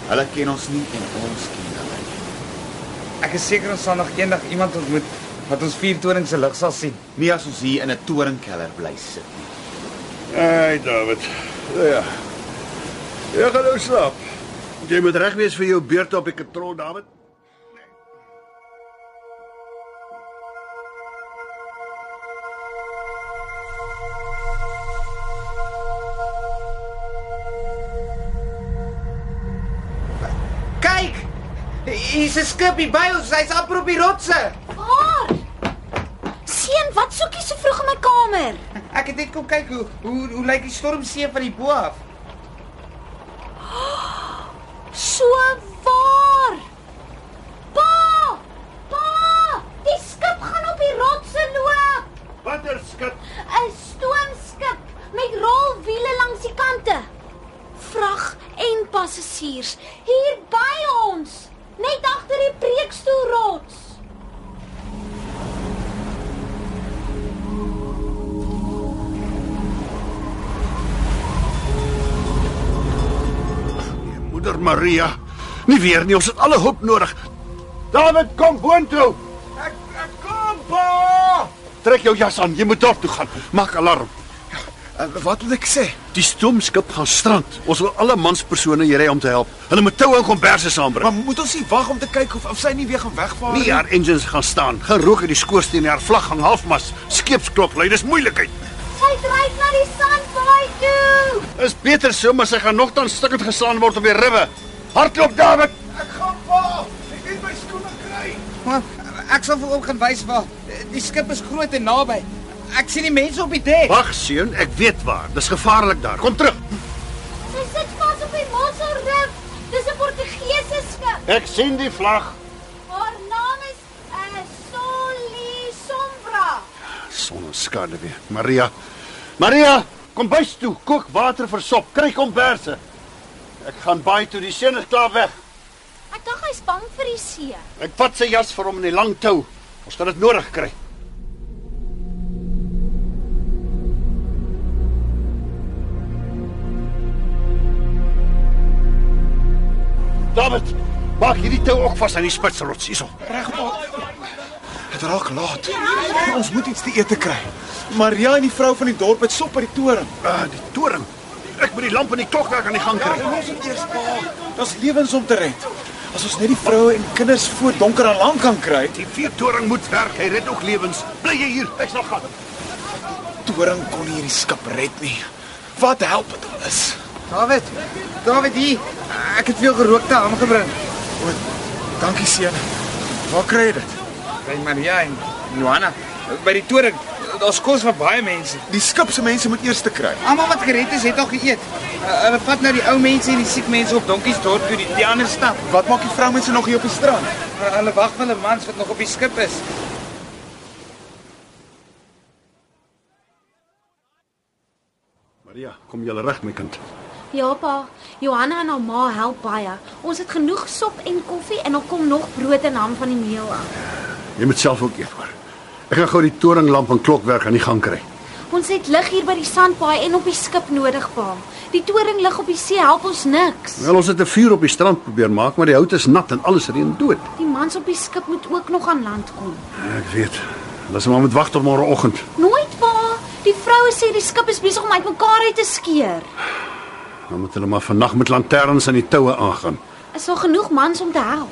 [SPEAKER 6] Hulle ken ons nie en ons ken hulle nie.
[SPEAKER 5] Ek is seker ons sal nog eendag iemand ontmoet wat ons vuurtorings se lig sal sien.
[SPEAKER 6] Nie as ons hier in 'n torenkelder bly sit nie.
[SPEAKER 3] Ai, David. Nou Ja. Jy gaan nou slaap. Jy moet reg wees vir jou beurt op die katrol, David.
[SPEAKER 5] Kyk! Hier's 'n skip hier by ons. Hy's amper op die rotse.
[SPEAKER 2] Waar? Seun, wat soek jy so vroeg in my kamer?
[SPEAKER 5] Ek het net kom kyk hoe hoe hoe lyk die stormsee van die bo af.
[SPEAKER 2] So waar. Pa! Pa! Die skip gaan op die rotse loop.
[SPEAKER 3] Watter skip?
[SPEAKER 2] 'n stoomskip met rolwiele langs die kante. Vrag en passasiers hier by ons, net agter die preekstoelrots.
[SPEAKER 3] Nee, moeder Maria. Nie weer nie, ons het alle hulp nodig. David, kom boontoe.
[SPEAKER 6] Ek ek kom pa!
[SPEAKER 3] Trek jou jas aan, jy moet dorp toe gaan. Maak alarm.
[SPEAKER 6] Uh, wat moet ek sê?
[SPEAKER 3] Die stoomskip gaan strand. Ons wil alle manspersone hierry om te help. Hulle moet tou en komberse saambring.
[SPEAKER 6] Maar moet ons nie wag om te kyk of of sy nie weer gaan wegvaar
[SPEAKER 3] Nie haar engines gaan staan. Gerook uit die skoorsteen en haar vlag hang halfmas. Skeepsklok lui, dis moeilikheid.
[SPEAKER 2] Sy dryf na die sandbaai toe.
[SPEAKER 3] Is beter so, maar sy gaan nogtans stukkend geslaan word op die ribbe. Hardloop, David.
[SPEAKER 6] Ek gaan pa! Ek het my skoene kry.
[SPEAKER 5] Maar ek sal vir oom gaan wys waar. Die skip is groot en naby. Ek sien die mense op die dek.
[SPEAKER 3] Wag, seun, ek weet waar. Dis gevaarlik daar. Kom terug.
[SPEAKER 2] Sy sit vas op die Mosselrif. Dis 'n Portugese skip.
[SPEAKER 3] Ek sien die vlag.
[SPEAKER 2] Haar naam is uh, Soli Sombra.
[SPEAKER 3] Son en skade weer. Maria. Maria, kom bys toe. Kook water vir sop. Kry komberse. Ek gaan baie toe. Die seun is klaar weg.
[SPEAKER 2] Ek dink hy's bang vir die see.
[SPEAKER 3] Ek vat sy jas vir hom in die lang tou. Ons gaan dit nodig kry. David, maak hierdie tou ook vas aan die spitsrots hierso.
[SPEAKER 6] Dit raak laat. Ons moet iets te eet kry. Maria en die vrou van die dorp het sop by die toring.
[SPEAKER 3] Ah, die toring. Ek moet die lamp en die klokwerk aan die gang kry.
[SPEAKER 6] Ons moet eers pa. Daar's lewens om te red. As ons net die vroue en kinders voor donker aan land kan kry, die
[SPEAKER 3] Die veertoring moet werk. Hy red ook lewens. Bly jy hier. Ek sal gaan.
[SPEAKER 6] toring kon hierdie skip red nie. Wat help dit alles?
[SPEAKER 5] David. David hier. Ek het veel gerookte aangebring.
[SPEAKER 6] O, dankie seun. Waar kry jy dit?
[SPEAKER 5] By Maria en Johanna by die toring. Daar's kos vir baie mense.
[SPEAKER 6] Die skip se mense moet eers te kry.
[SPEAKER 5] Almal wat gered is, het al geëet. Uh, hulle vat nou die ou mense en die siek mense op donkies dorp toe die, die ander stad.
[SPEAKER 6] Wat maak die vroumense nog hier op die strand?
[SPEAKER 5] Uh, hulle wag vir hulle mans wat nog op die skip is.
[SPEAKER 3] Maria, kom jy reg my kind?
[SPEAKER 2] Ja pa, Johanna en haar ma help baie. Ons het genoeg sop en koffie en dan kom nog brood en ham van die meel af.
[SPEAKER 3] Jy moet self ook eet hoor. Ek gaan gou die toringlamp en klokwerk aan die gang kry.
[SPEAKER 2] Ons het lig hier by die sandpaai en op die skip nodig pa. Die toring lig op die see help ons niks.
[SPEAKER 3] Wel ons het 'n vuur op die strand probeer maak, maar die hout is nat en alles reën dood. Ja,
[SPEAKER 2] Die mans op die skip moet ook nog aan land kom.
[SPEAKER 3] Ek weet. Laat hom maar moet wag tot môreoggend.
[SPEAKER 2] Nooit pa. Die vroue sê die skip is besig om uitmekaar uit te skeer.
[SPEAKER 3] Dan moet hulle maar vannag met lanterns aan die toue aangaan.
[SPEAKER 2] Is daar genoeg mans om te help?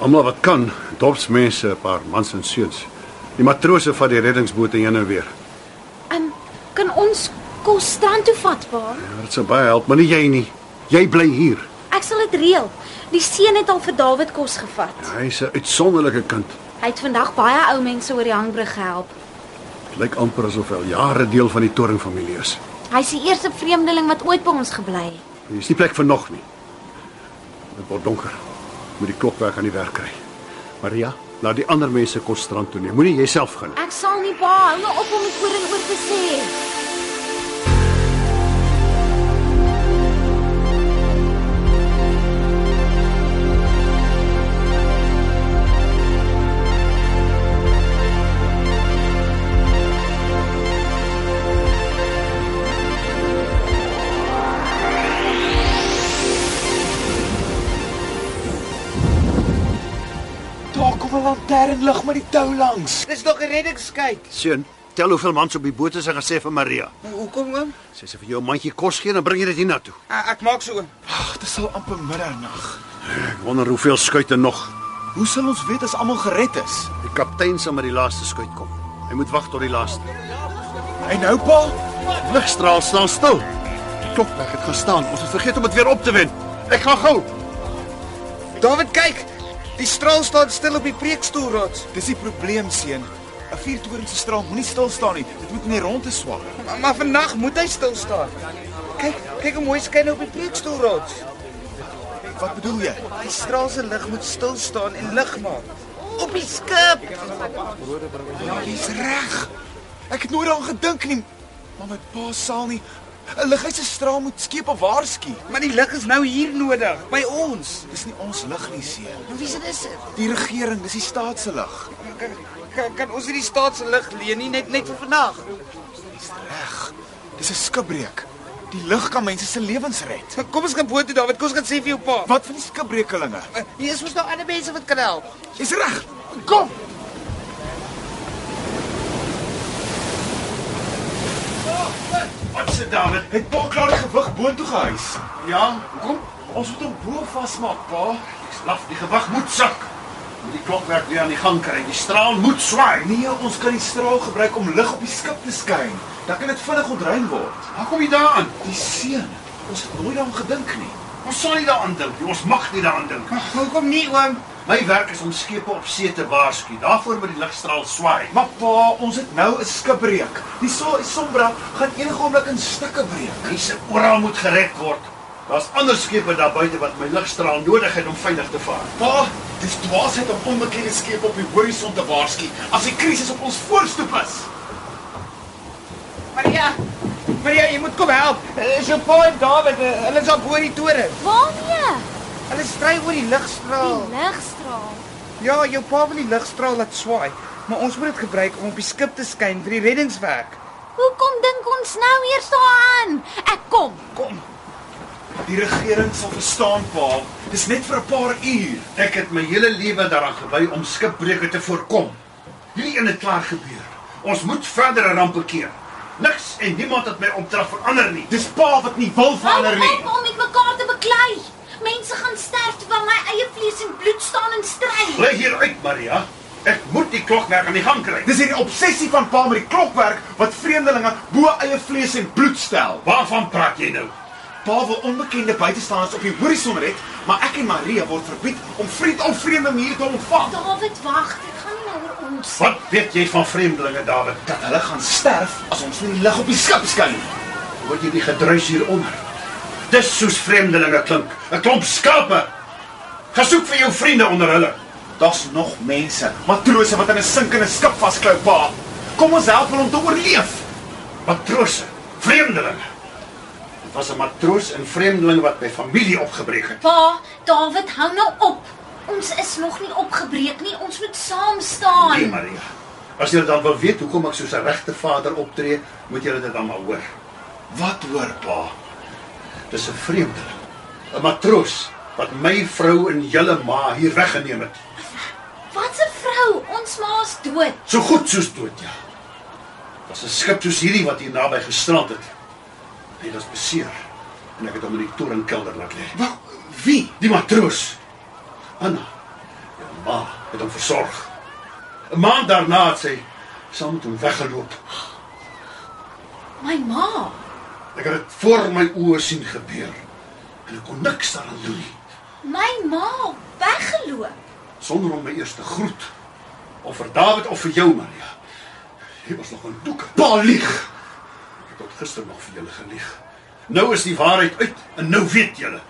[SPEAKER 3] Almal wat kan, dorpsmense, 'n paar mans en seuns. Die matrose van die reddingsboot en jene weer.
[SPEAKER 2] Ehm um, kan ons kos strand toe vat pa?
[SPEAKER 3] Ja, Dit sou baie help, maar nie jy nie. Jy bly hier.
[SPEAKER 2] Ek sal dit reël. Die seun het al vir Dawid kos gevat.
[SPEAKER 3] Hy's 'n uitsonderlike kind.
[SPEAKER 2] Hy het vandag baie ou mense oor die hangbrug gehelp.
[SPEAKER 3] Dit lyk amper asof hy al jare deel van die toringfamilie is.
[SPEAKER 2] Hy's die eerste vreemdeling wat ooit by ons gebly het.
[SPEAKER 3] Hier is nie plek vir nog nie. Dit word donker. Moet die klokwerk aan die werk kry. Maria, laat die ander mense kos strand toe neem. Moenie jouself gaan.
[SPEAKER 2] Ek sal nie pa, hou nou op om dit oor en oor te sê.
[SPEAKER 6] Daar kom 'n lanternlig met die tou langs.
[SPEAKER 5] Dis nog 'n reddingskyk.
[SPEAKER 3] Seun, tel hoeveel mans op die boot is en gesê vir Maria.
[SPEAKER 5] Hoekom oom?
[SPEAKER 3] Sy sê vir jou 'n mandjie kos gee en bring jy dit hiernatoe.
[SPEAKER 5] Uh, ek maak so oom.
[SPEAKER 6] Ag, dit is al amper middernag.
[SPEAKER 3] Ek wonder hoeveel skuite nog.
[SPEAKER 6] Hoe sal ons weet as almal gered is?
[SPEAKER 3] Die kaptein sal met die laaste skuit kom. Hy moet wag tot die laaste.
[SPEAKER 6] En nou pa,
[SPEAKER 3] Ligstraal staan stil. Die klokwerk het gaan staan. Ons het vergeet om dit weer op te wen. Ek gaan gou.
[SPEAKER 5] Dawid kyk. Die straal staan stil op die preekstoelrots.
[SPEAKER 6] dis die probleem seun. 'n Vuurtoring se straal moenie stil staan nie. Dit moet in die rondte swaai.
[SPEAKER 5] Maar, maar vandag moet hy stil staan. Kyk, kyk hoe mooi skyn hy op die preekstoelrots.
[SPEAKER 6] Wat bedoel jy?
[SPEAKER 5] Die straal se lig moet stil staan en lig maak. Op die skip.
[SPEAKER 6] Jy's reg. Ek het nooit daaraan gedink nie. Maar my pa sal nie 'n ligheid se straal moet skeep of waarsku.
[SPEAKER 5] Maar die lig is nou hier nodig by ons.
[SPEAKER 6] Dis nie ons lig nie, seun.
[SPEAKER 5] Maar wie se dis?
[SPEAKER 6] Die regering, dis die staat se lig.
[SPEAKER 5] Kan, kan, kan ons hierdie staat se lig leen nie net net vir vandag?
[SPEAKER 6] Reg. Dis 'n skipbreek. Die lig kan mense se lewens red.
[SPEAKER 5] Kom ons gaan boot toe Dawid, kom ons gaan sê vir jou pa.
[SPEAKER 6] Wat van die skipbrekelinge?
[SPEAKER 5] Hier is mos nou ander mense wat kan help.
[SPEAKER 6] Jy's reg. Kom.
[SPEAKER 3] Wat se David?
[SPEAKER 6] Het pa klaar die gewig boontoe gehuis.
[SPEAKER 3] Ja,
[SPEAKER 6] Kom. Ons moet hom bo vasmaak, pa.
[SPEAKER 3] slaf, die gewag moet sak. Moet die klokwerk weer aan die gang kry. Die straal moet swaai.
[SPEAKER 6] Nee, ons kan die straal gebruik om lig op die skip te skyn. Dan kan dit vinnig ontruim word.
[SPEAKER 3] Waar kom jy daaraan?
[SPEAKER 6] Die seun. Ons het nooit daaraan gedink nie.
[SPEAKER 3] Ons sal nie daaraan dink nie. Ons mag nie daaraan dink nie.
[SPEAKER 5] Hoekom nie oom?
[SPEAKER 3] My werk is om skepe op see te waarsku. Daarvoor moet die ligstraal swaai.
[SPEAKER 6] Maar pa, ons het nou 'n skipbreek. Die son sombra gaan enige oomblik in stukke breek.
[SPEAKER 3] Mense oral moet gered word. Daar's ander skepe daar buite wat my ligstraal nodig het om veilig te vaar.
[SPEAKER 6] Pa, dis dwaasheid om onbekende skepe op die horison te waarsku as die krisis op ons voorstoep is.
[SPEAKER 5] Maria. Maria, jy moet kom help. Eh, Is jou pa en Dawid, eh, hulle is al bo die toring.
[SPEAKER 2] Waarmee?
[SPEAKER 5] Hulle stry oor die ligstraal.
[SPEAKER 2] Die ligstraal.
[SPEAKER 5] Ja, jou pa wil die ligstraal laat swaai, maar ons moet dit gebruik om op die skip te skyn vir die reddingswerk.
[SPEAKER 2] Hoekom dink ons nou eers daaraan? Ek kom.
[SPEAKER 6] Kom. Die regering sal verstaan, pa. Dis net vir 'n paar uur.
[SPEAKER 3] Ek het my hele lewe daaraan gewy om skipbreuke te voorkom. Hierdie een het klaar gebeur. Ons moet verdere rampe keer. Niks en niemand het my opdrag verander nie.
[SPEAKER 6] Dis pa wat nie wil verander
[SPEAKER 2] Hou
[SPEAKER 6] nie.
[SPEAKER 2] op om met mekaar te beklei. Mense gaan sterf terwyl my eie vlees en bloed staan en stry.
[SPEAKER 3] Bly hier uit, Maria. Ek moet die klokwerk aan die gang kry.
[SPEAKER 6] Dis hierdie obsessie van pa met die klokwerk wat vreemdelinge bo eie vlees en bloed stel.
[SPEAKER 3] Waarvan praat jy nou?
[SPEAKER 6] Pa wil onbekende buitestaanders op die horison red, maar ek en Maria word verbied om vriend of vreemde mense te ontvang.
[SPEAKER 2] Dawid, wag. Dit gaan nie nou oor ons.
[SPEAKER 3] Wat weet jy van vreemdelinge, Dawid?
[SPEAKER 6] Dat hulle gaan sterf as ons nie die lig op die skip skyn nie.
[SPEAKER 3] Hoor jy die gedruis hieronder? Dis soos vreemdelinge klink, 'n klomp skape. Gesoek vir jou vriende onder hulle.
[SPEAKER 6] Daar's nog mense, matrose wat in 'n sinkende skip vasklou, pa. Kom ons help hulle om te oorleef.
[SPEAKER 3] Matrose, vreemdelinge. Dit was 'n matroos en vreemdeling wat by familie opgebreek het.
[SPEAKER 2] Pa, Dawid, hou nou op. Ons is nog nie opgebreek nie. Ons moet saam staan.
[SPEAKER 3] Nee, Maria. As julle dan wil weet hoekom ek soos 'n regte vader optree, moet julle dit dan maar hoor. Wat hoor, pa? Dis 'n vreemdeling, 'n matroos wat my vrou en julle ma hier weggeneem het.
[SPEAKER 2] Wat 'n vrou. Ons ma's dood.
[SPEAKER 3] So goed soos dood, ja. Was 'n skip soos hierdie wat hier naby gestrand het. Hy was beseer en ek het hom in die torenkelder laat lê.
[SPEAKER 6] Wel, wie?
[SPEAKER 3] Die matroos. Anna. Ja, ma het hom versorg. 'n Maand daarna het sy saam met hom weggeloop.
[SPEAKER 2] My ma.
[SPEAKER 3] Ek het dit voor my oë sien gebeur en ek kon niks daaraan doen nie
[SPEAKER 2] My ma weggeloop.
[SPEAKER 3] sonder om my eers te groet of vir Dawid of vir jou Maria. Jy was nog 'n doek.
[SPEAKER 6] Pa lieg.
[SPEAKER 3] Ek het gister nog vir julle gelieg. Nou is die waarheid uit en nou weet julle.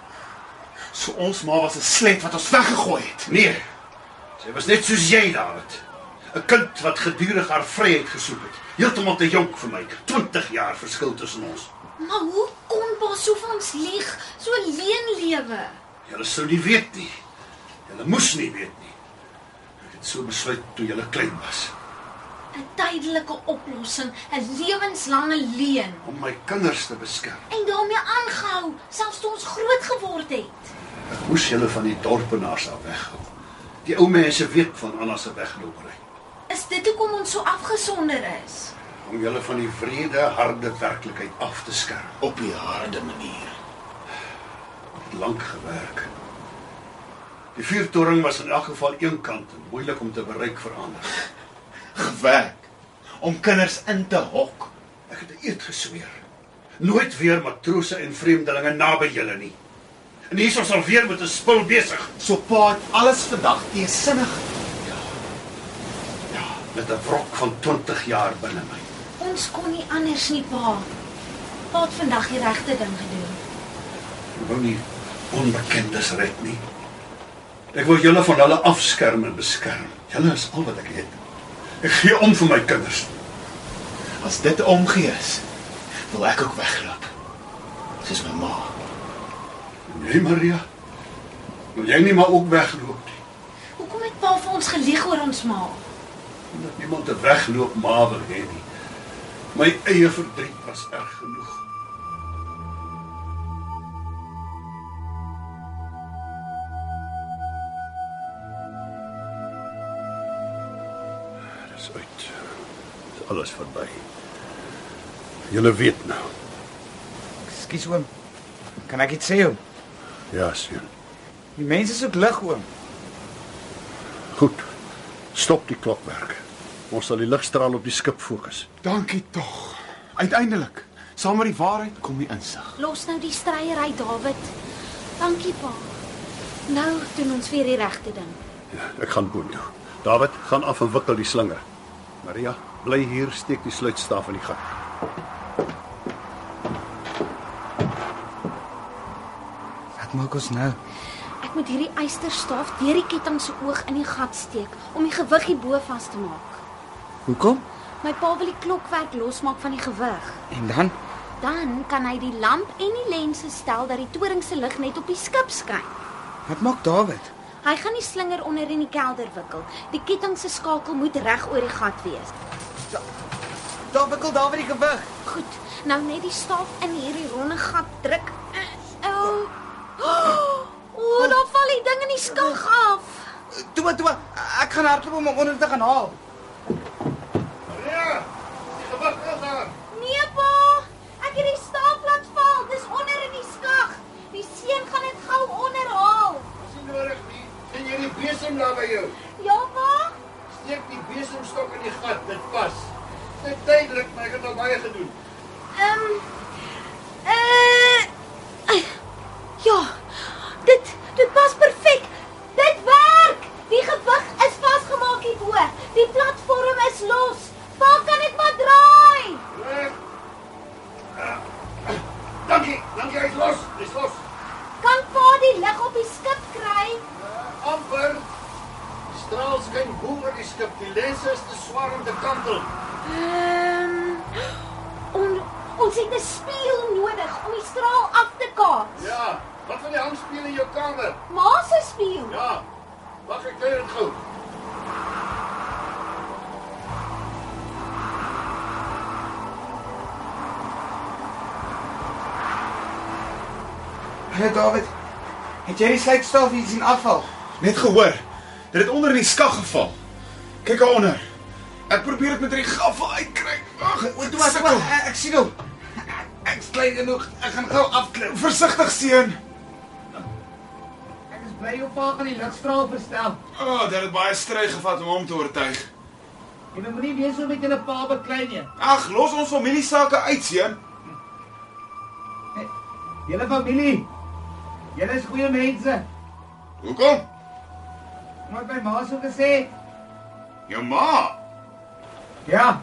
[SPEAKER 6] So ons ma was 'n slet wat ons weggegooi het.
[SPEAKER 3] Nee. Sy was net soos jy, David. 'n Kind wat gedurig haar vryheid gesoek het. Heeltemal te jonk vir my. 20 jaar verskil tussen ons.
[SPEAKER 2] Maar hoe kon pa so vir ons lieg? So leen lewe.
[SPEAKER 3] Julle sou nie weet nie. Julle moes nie weet nie. Ek het so besluit toe julle klein was
[SPEAKER 2] 'n Tydelike oplossing, 'n lewenslange leen.
[SPEAKER 3] om my kinders te beskerm.
[SPEAKER 2] En daarmee aangehou, selfs toe ons groot geword het.
[SPEAKER 3] Ek moes julle van die dorpenaars af weghou. Die ou mense weet van Anna se weglopery.
[SPEAKER 2] Is dit hoekom ons so afgesonder is?
[SPEAKER 3] Om julle van die wrede, harde werklikheid af te skerm.
[SPEAKER 6] Op die harde manier.
[SPEAKER 3] het lank gewerk. Die vuurtoring was in elk geval eenkant en moeilik om te bereik vir ander.
[SPEAKER 6] Gewerk om kinders in te hok.
[SPEAKER 3] Ek het 'n eed gesweer. Nooit weer matrose en vreemdelinge naby julle nie. En hier is ons alweer met 'n spul besig.
[SPEAKER 6] So pa het alles vandag teesinnig.
[SPEAKER 3] Ja, met 'n wrok van 20 jaar binne my.
[SPEAKER 2] Ons kon nie anders nie, pa. Pa het vandag die regte ding gedoen.
[SPEAKER 3] Ek wou nie onbekendes red nie. Ek wil julle van hulle afskerm en beskerm. Julle is al wat ek het. Ek gee om vir my kinders.
[SPEAKER 6] As dit omgee is, wil ek ook wegloop. Soos my ma.
[SPEAKER 3] Nee, Maria. Wil jy nie maar ook wegloop nie?
[SPEAKER 2] Hoekom het pa vir ons gelieg oor ons ma?
[SPEAKER 3] Omdat niemand 'n wegloop ma wil hê nie. My eie verdriet was erg genoeg. Dis uit. Dis alles verby. Julle weet nou.
[SPEAKER 5] Ekskuus oom. Kan ek iets sê oom?
[SPEAKER 3] Ja, seun.
[SPEAKER 5] Die mense soek lig oom.
[SPEAKER 3] Goed. Stop die klokwerk. Ons sal die ligstraal op die skip fokus.
[SPEAKER 6] Dankie tog. Uiteindelik, saam met die waarheid kom die insig.
[SPEAKER 2] Los nou die stryery, Dawid. Dankie, pa. Nou doen ons weer die regte ding.
[SPEAKER 3] Ja, ek gaan boontoe. David, gaan af en wikkel die slinger. Maria, bly hier, steek die sluitstaaf in die gang.
[SPEAKER 5] Wat maak ons nou?
[SPEAKER 2] Ek moet hierdie eysterstaaf deur die ketting se oog in die gat steek om die gewig hierbo vas te maak.
[SPEAKER 5] Hoekom?
[SPEAKER 2] My pa wil die klokwerk losmaak van die gewig.
[SPEAKER 5] En dan
[SPEAKER 2] Dan kan hy die lamp en die lense stel dat die toring se lig net op die skip skyn.
[SPEAKER 5] wat maak Dawid?
[SPEAKER 2] Hy gaan die slinger onder in die kelder wikkel. Die ketting se skakel moet reg oor die gat wees.
[SPEAKER 5] Daar wikkel Dawid die gewig.
[SPEAKER 2] Goed, nou net die staaf in hierdie ronde gat druk. <gasps> Ou. Oh, oh, daar val die ding in die skag af.
[SPEAKER 5] Toe maar, toe maar. Ek gaan hardloop om hom onder te gaan haal.
[SPEAKER 3] Maria, die gewig is daar.
[SPEAKER 2] Nee pa, ek het die staaf laat val. Dis onder in die skag. Die seun gaan dit gou onderhaal.
[SPEAKER 3] Dis nie nodig nie. En jy die besem naby jou.
[SPEAKER 2] Ja pa,
[SPEAKER 3] Steek die besemstok in die gat, dit pas. Dit tydelik, maar ek het al baie gedoen.
[SPEAKER 2] ehm um, eh uh, ja. Dit dit pas perfek. Dit werk. Die gewig is vasgemaak hierbo. Die
[SPEAKER 3] geen boemergeskip. Die lense is te swaar om te kantel.
[SPEAKER 2] Ehm on, ons het 'n spieël nodig om die straal af te kaats.
[SPEAKER 3] Ja, wat van die hangspieël in jou kamer?
[SPEAKER 2] Ma se spieël.
[SPEAKER 3] Ja. Wag ek kry dit gou.
[SPEAKER 6] Nee,
[SPEAKER 5] Hallo David. Het jy die slypstaaf hier sien afval?
[SPEAKER 4] Net gehoor. Dit het onder in die skag geval. Kyk daaronder. Ek probeer dit met hierdie gaffel uitkry. Ag,
[SPEAKER 5] Toe was ek wel. Ek sien hom. Ek sly genoeg. Ek gaan gou afklim.
[SPEAKER 4] Versigtig seun.
[SPEAKER 5] Ek is bly jou pa kan die ligstraal verstel.
[SPEAKER 4] O, oh, dit het baie stry gevat om hom te oortuig.
[SPEAKER 5] En jy moenie weer so met julle pa beklei nie.
[SPEAKER 4] Ag, los ons familie sake uit seun.
[SPEAKER 5] Julle familie. Julle is goeie mense.
[SPEAKER 4] Hoekom?
[SPEAKER 5] Maar my ma sou gesê,
[SPEAKER 4] Jou ma.
[SPEAKER 5] ja,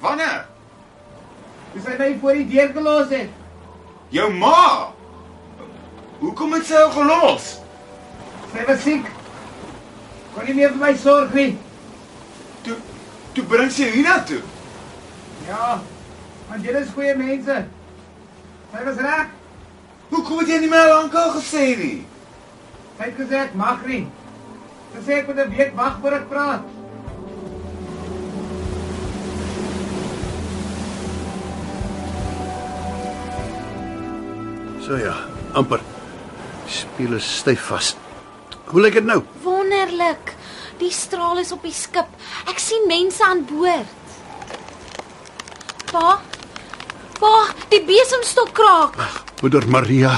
[SPEAKER 4] Wanneer?
[SPEAKER 5] dis hy my voor die deur gelos het.
[SPEAKER 4] Jou ma. Hoekom het sy jou gelos?
[SPEAKER 5] Sy was siek. Kon nie meer vir my sorg nie.
[SPEAKER 4] Toe toe bring sy jou hiernatoe.
[SPEAKER 5] Ja. Want julle is goeie mense. Sy was reg.
[SPEAKER 4] Hoekom het jy nie my al lankal gesê nie?
[SPEAKER 5] Sy het gesê ek mag nie. Sy sê ek moet 'n week wag voor ek praat.
[SPEAKER 3] So ja, amper. Spieël is styf vas. Hoe lyk dit nou?
[SPEAKER 2] Wonderlik. Die straal is op die skip. Ek sien mense aan boord. Pa? Pa, die besemstok kraak.
[SPEAKER 3] Moeder Maria,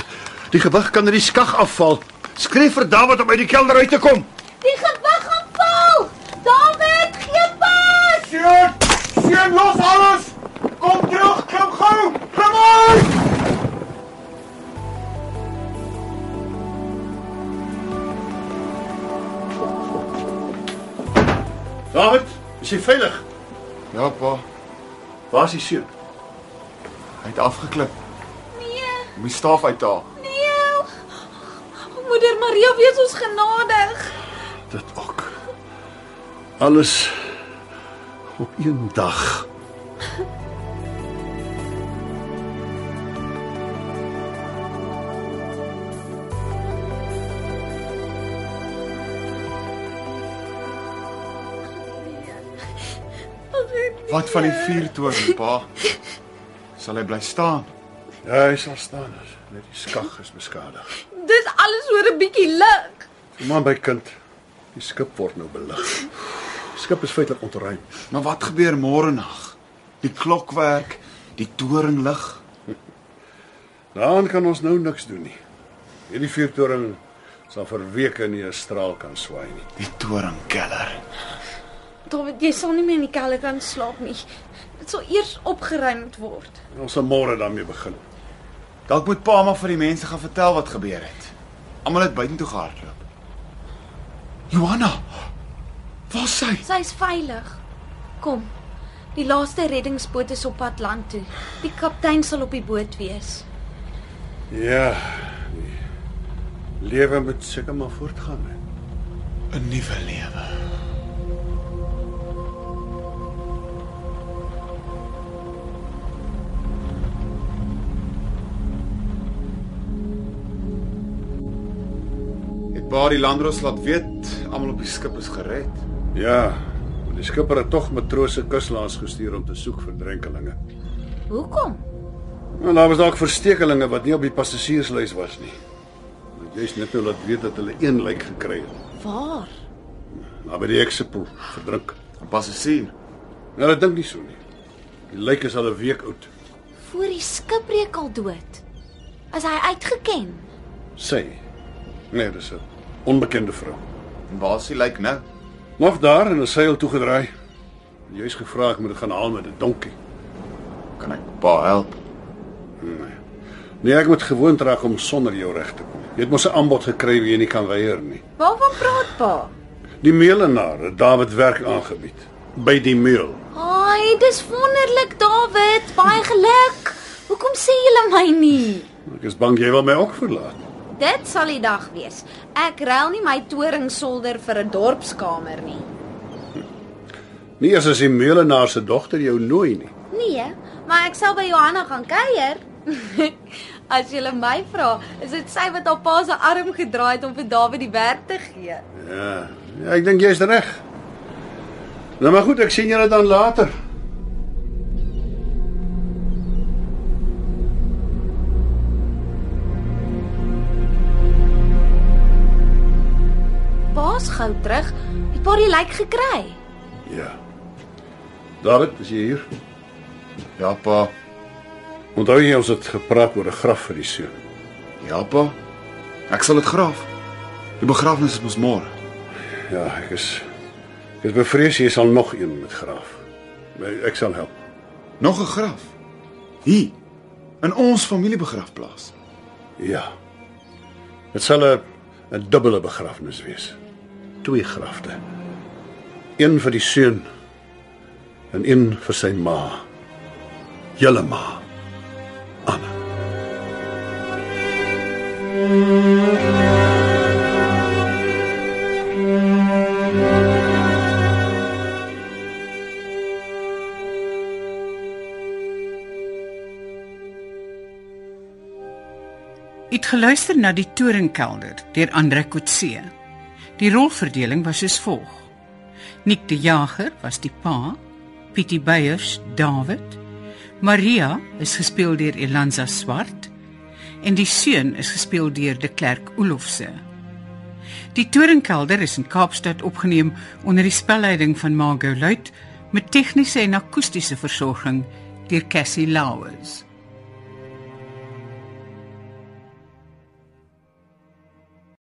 [SPEAKER 3] die gewig kan uit die skag afval. Skryf vir Dawid om uit die kelder uit te kom.
[SPEAKER 2] Die gewig gaan val. David, gee pas.
[SPEAKER 4] Seun, seun los alles. Kom terug, kom gou. Kom aan.
[SPEAKER 3] Dawid, is jy veilig?
[SPEAKER 4] Ja pa,
[SPEAKER 3] Waar is die seun?
[SPEAKER 4] hy het afgeklip.
[SPEAKER 2] Nee,
[SPEAKER 4] Moet die staaf uithaal.
[SPEAKER 2] nee. Moeder Maria, wees ons genadig.
[SPEAKER 3] Dit ook. Alles op een dag.
[SPEAKER 2] nee.
[SPEAKER 4] Wat van die vuurtoring, pa? Sal hy bly staan?
[SPEAKER 3] Ja, hy sal staan as net die skag is beskadig.
[SPEAKER 2] Dis alles oor 'n bietjie lig.
[SPEAKER 3] Kom aan by kind. Die skip word nou belig. Die skip is feitelik ontruim.
[SPEAKER 4] Maar Nou, wat gebeur môre nag? Die klokwerk, die toringlig.
[SPEAKER 3] Daaraan kan ons nou niks doen nie. Hierdie vuurtoring sal vir weke nie 'n straal kan swaai nie.
[SPEAKER 4] Die toringkeller.
[SPEAKER 2] David, jy sal nie meer in die kelder kan slaap nie. Dit sal eers opgeruim moet word.
[SPEAKER 3] En Ons sal môre daarmee begin.
[SPEAKER 4] Dalk moet pa maar vir die mense gaan vertel wat gebeur het. Almal het buitentoe gehardloop. Johanna. Waar is sy?
[SPEAKER 2] Sy's veilig. Kom. Die laaste reddingsboot is op pad land toe. Die kaptein sal op die boot wees.
[SPEAKER 3] Ja. Die lewe moet seker maar voortgaan. Hè.
[SPEAKER 4] 'n Nuwe lewe. Het pa die landros laat weet almal op die skip is gered.
[SPEAKER 3] Ja, maar die skipper het tog matrose kuslaans gestuur om te soek vir drenkelinge.
[SPEAKER 2] Hoekom?
[SPEAKER 3] Maar daar was dalk verstekelinge wat nie op die passasierslys was nie. Want jy's net nou laat weet dat hulle een lijk gekry het,
[SPEAKER 2] Waar?
[SPEAKER 3] naby by die heksepoel, verdrink.
[SPEAKER 4] 'n Passasier.
[SPEAKER 3] Nou, hulle dink nie so nie. Die lijk is al 'n week oud,
[SPEAKER 2] Voor die skip reek al dood. As hy uitgeken.
[SPEAKER 3] sê. Nee, dis 'n onbekende vrou.
[SPEAKER 4] En waar is die lijk nou?
[SPEAKER 3] Nog daar en 'n seil toegedraai. Jy's gevra ek moet dit gaan haal met 'n donkie.
[SPEAKER 4] Kan ek pa help?
[SPEAKER 3] Nee, ek moet gewoond raak om sonder jou reg te kom. Jy het mos 'n aanbod gekry wat jy nie kan weier nie.
[SPEAKER 2] Waarvan praat pa?
[SPEAKER 3] Die meulenaar het Dawid werk aangebied by die meul.
[SPEAKER 2] Ai, dis wonderlik, David. Baie geluk. Hoekom sê julle my nie?
[SPEAKER 3] Ek is bang jy wil my ook verlaat.
[SPEAKER 2] Dit sal die dag wees. Ek ruil nie my toringsolder vir 'n dorpskamer nie.
[SPEAKER 3] Nie eers as die meelenaar se dogter jou nooi nie.
[SPEAKER 2] Nee, maar ek sal by Johanna gaan kuier. <laughs> As jy my vra, is dit sy wat haar pa se arm gedraai het om vir Dawid die werk te gee.
[SPEAKER 3] Ja, ja ek dink jy's reg. Nou maar goed, ek sien julle dan later.
[SPEAKER 7] Pa's gou terug. Het pa die lijk gekry?
[SPEAKER 3] Ja. David, is jy hier?
[SPEAKER 4] Ja pa.
[SPEAKER 3] Onthou jy ons het gepraat oor 'n graf vir die seun?
[SPEAKER 4] Ja pa. Ek sal dit graaf. Die begrafnis is mos môre.
[SPEAKER 3] Ja, ek is ek is bevrees jy sal nog een met graf. Maar Ek sal help.
[SPEAKER 4] Nog 'n graf. Hier in ons familiebegrafplaas.
[SPEAKER 3] Ja. Dit sal 'n 'n dubbele begrafnis wees. Twee grafte. Een vir die seun en een vir sy ma. Julle ma. Anna.
[SPEAKER 1] U het geluister na die Torenkelder deur Andre Kotse. Die rolverdeling was soos volg: Nick die Jager was die pa, Pietie Beyers David, Maria is gespeel deur Elanza Swart en die seun is gespeel deur De Klerk Olofse. Die Torenkelder is in Kaapstad opgeneem onder die spelleiding van Margot Luit met tegniese en akoestiese versorging deur Cassie Lauers.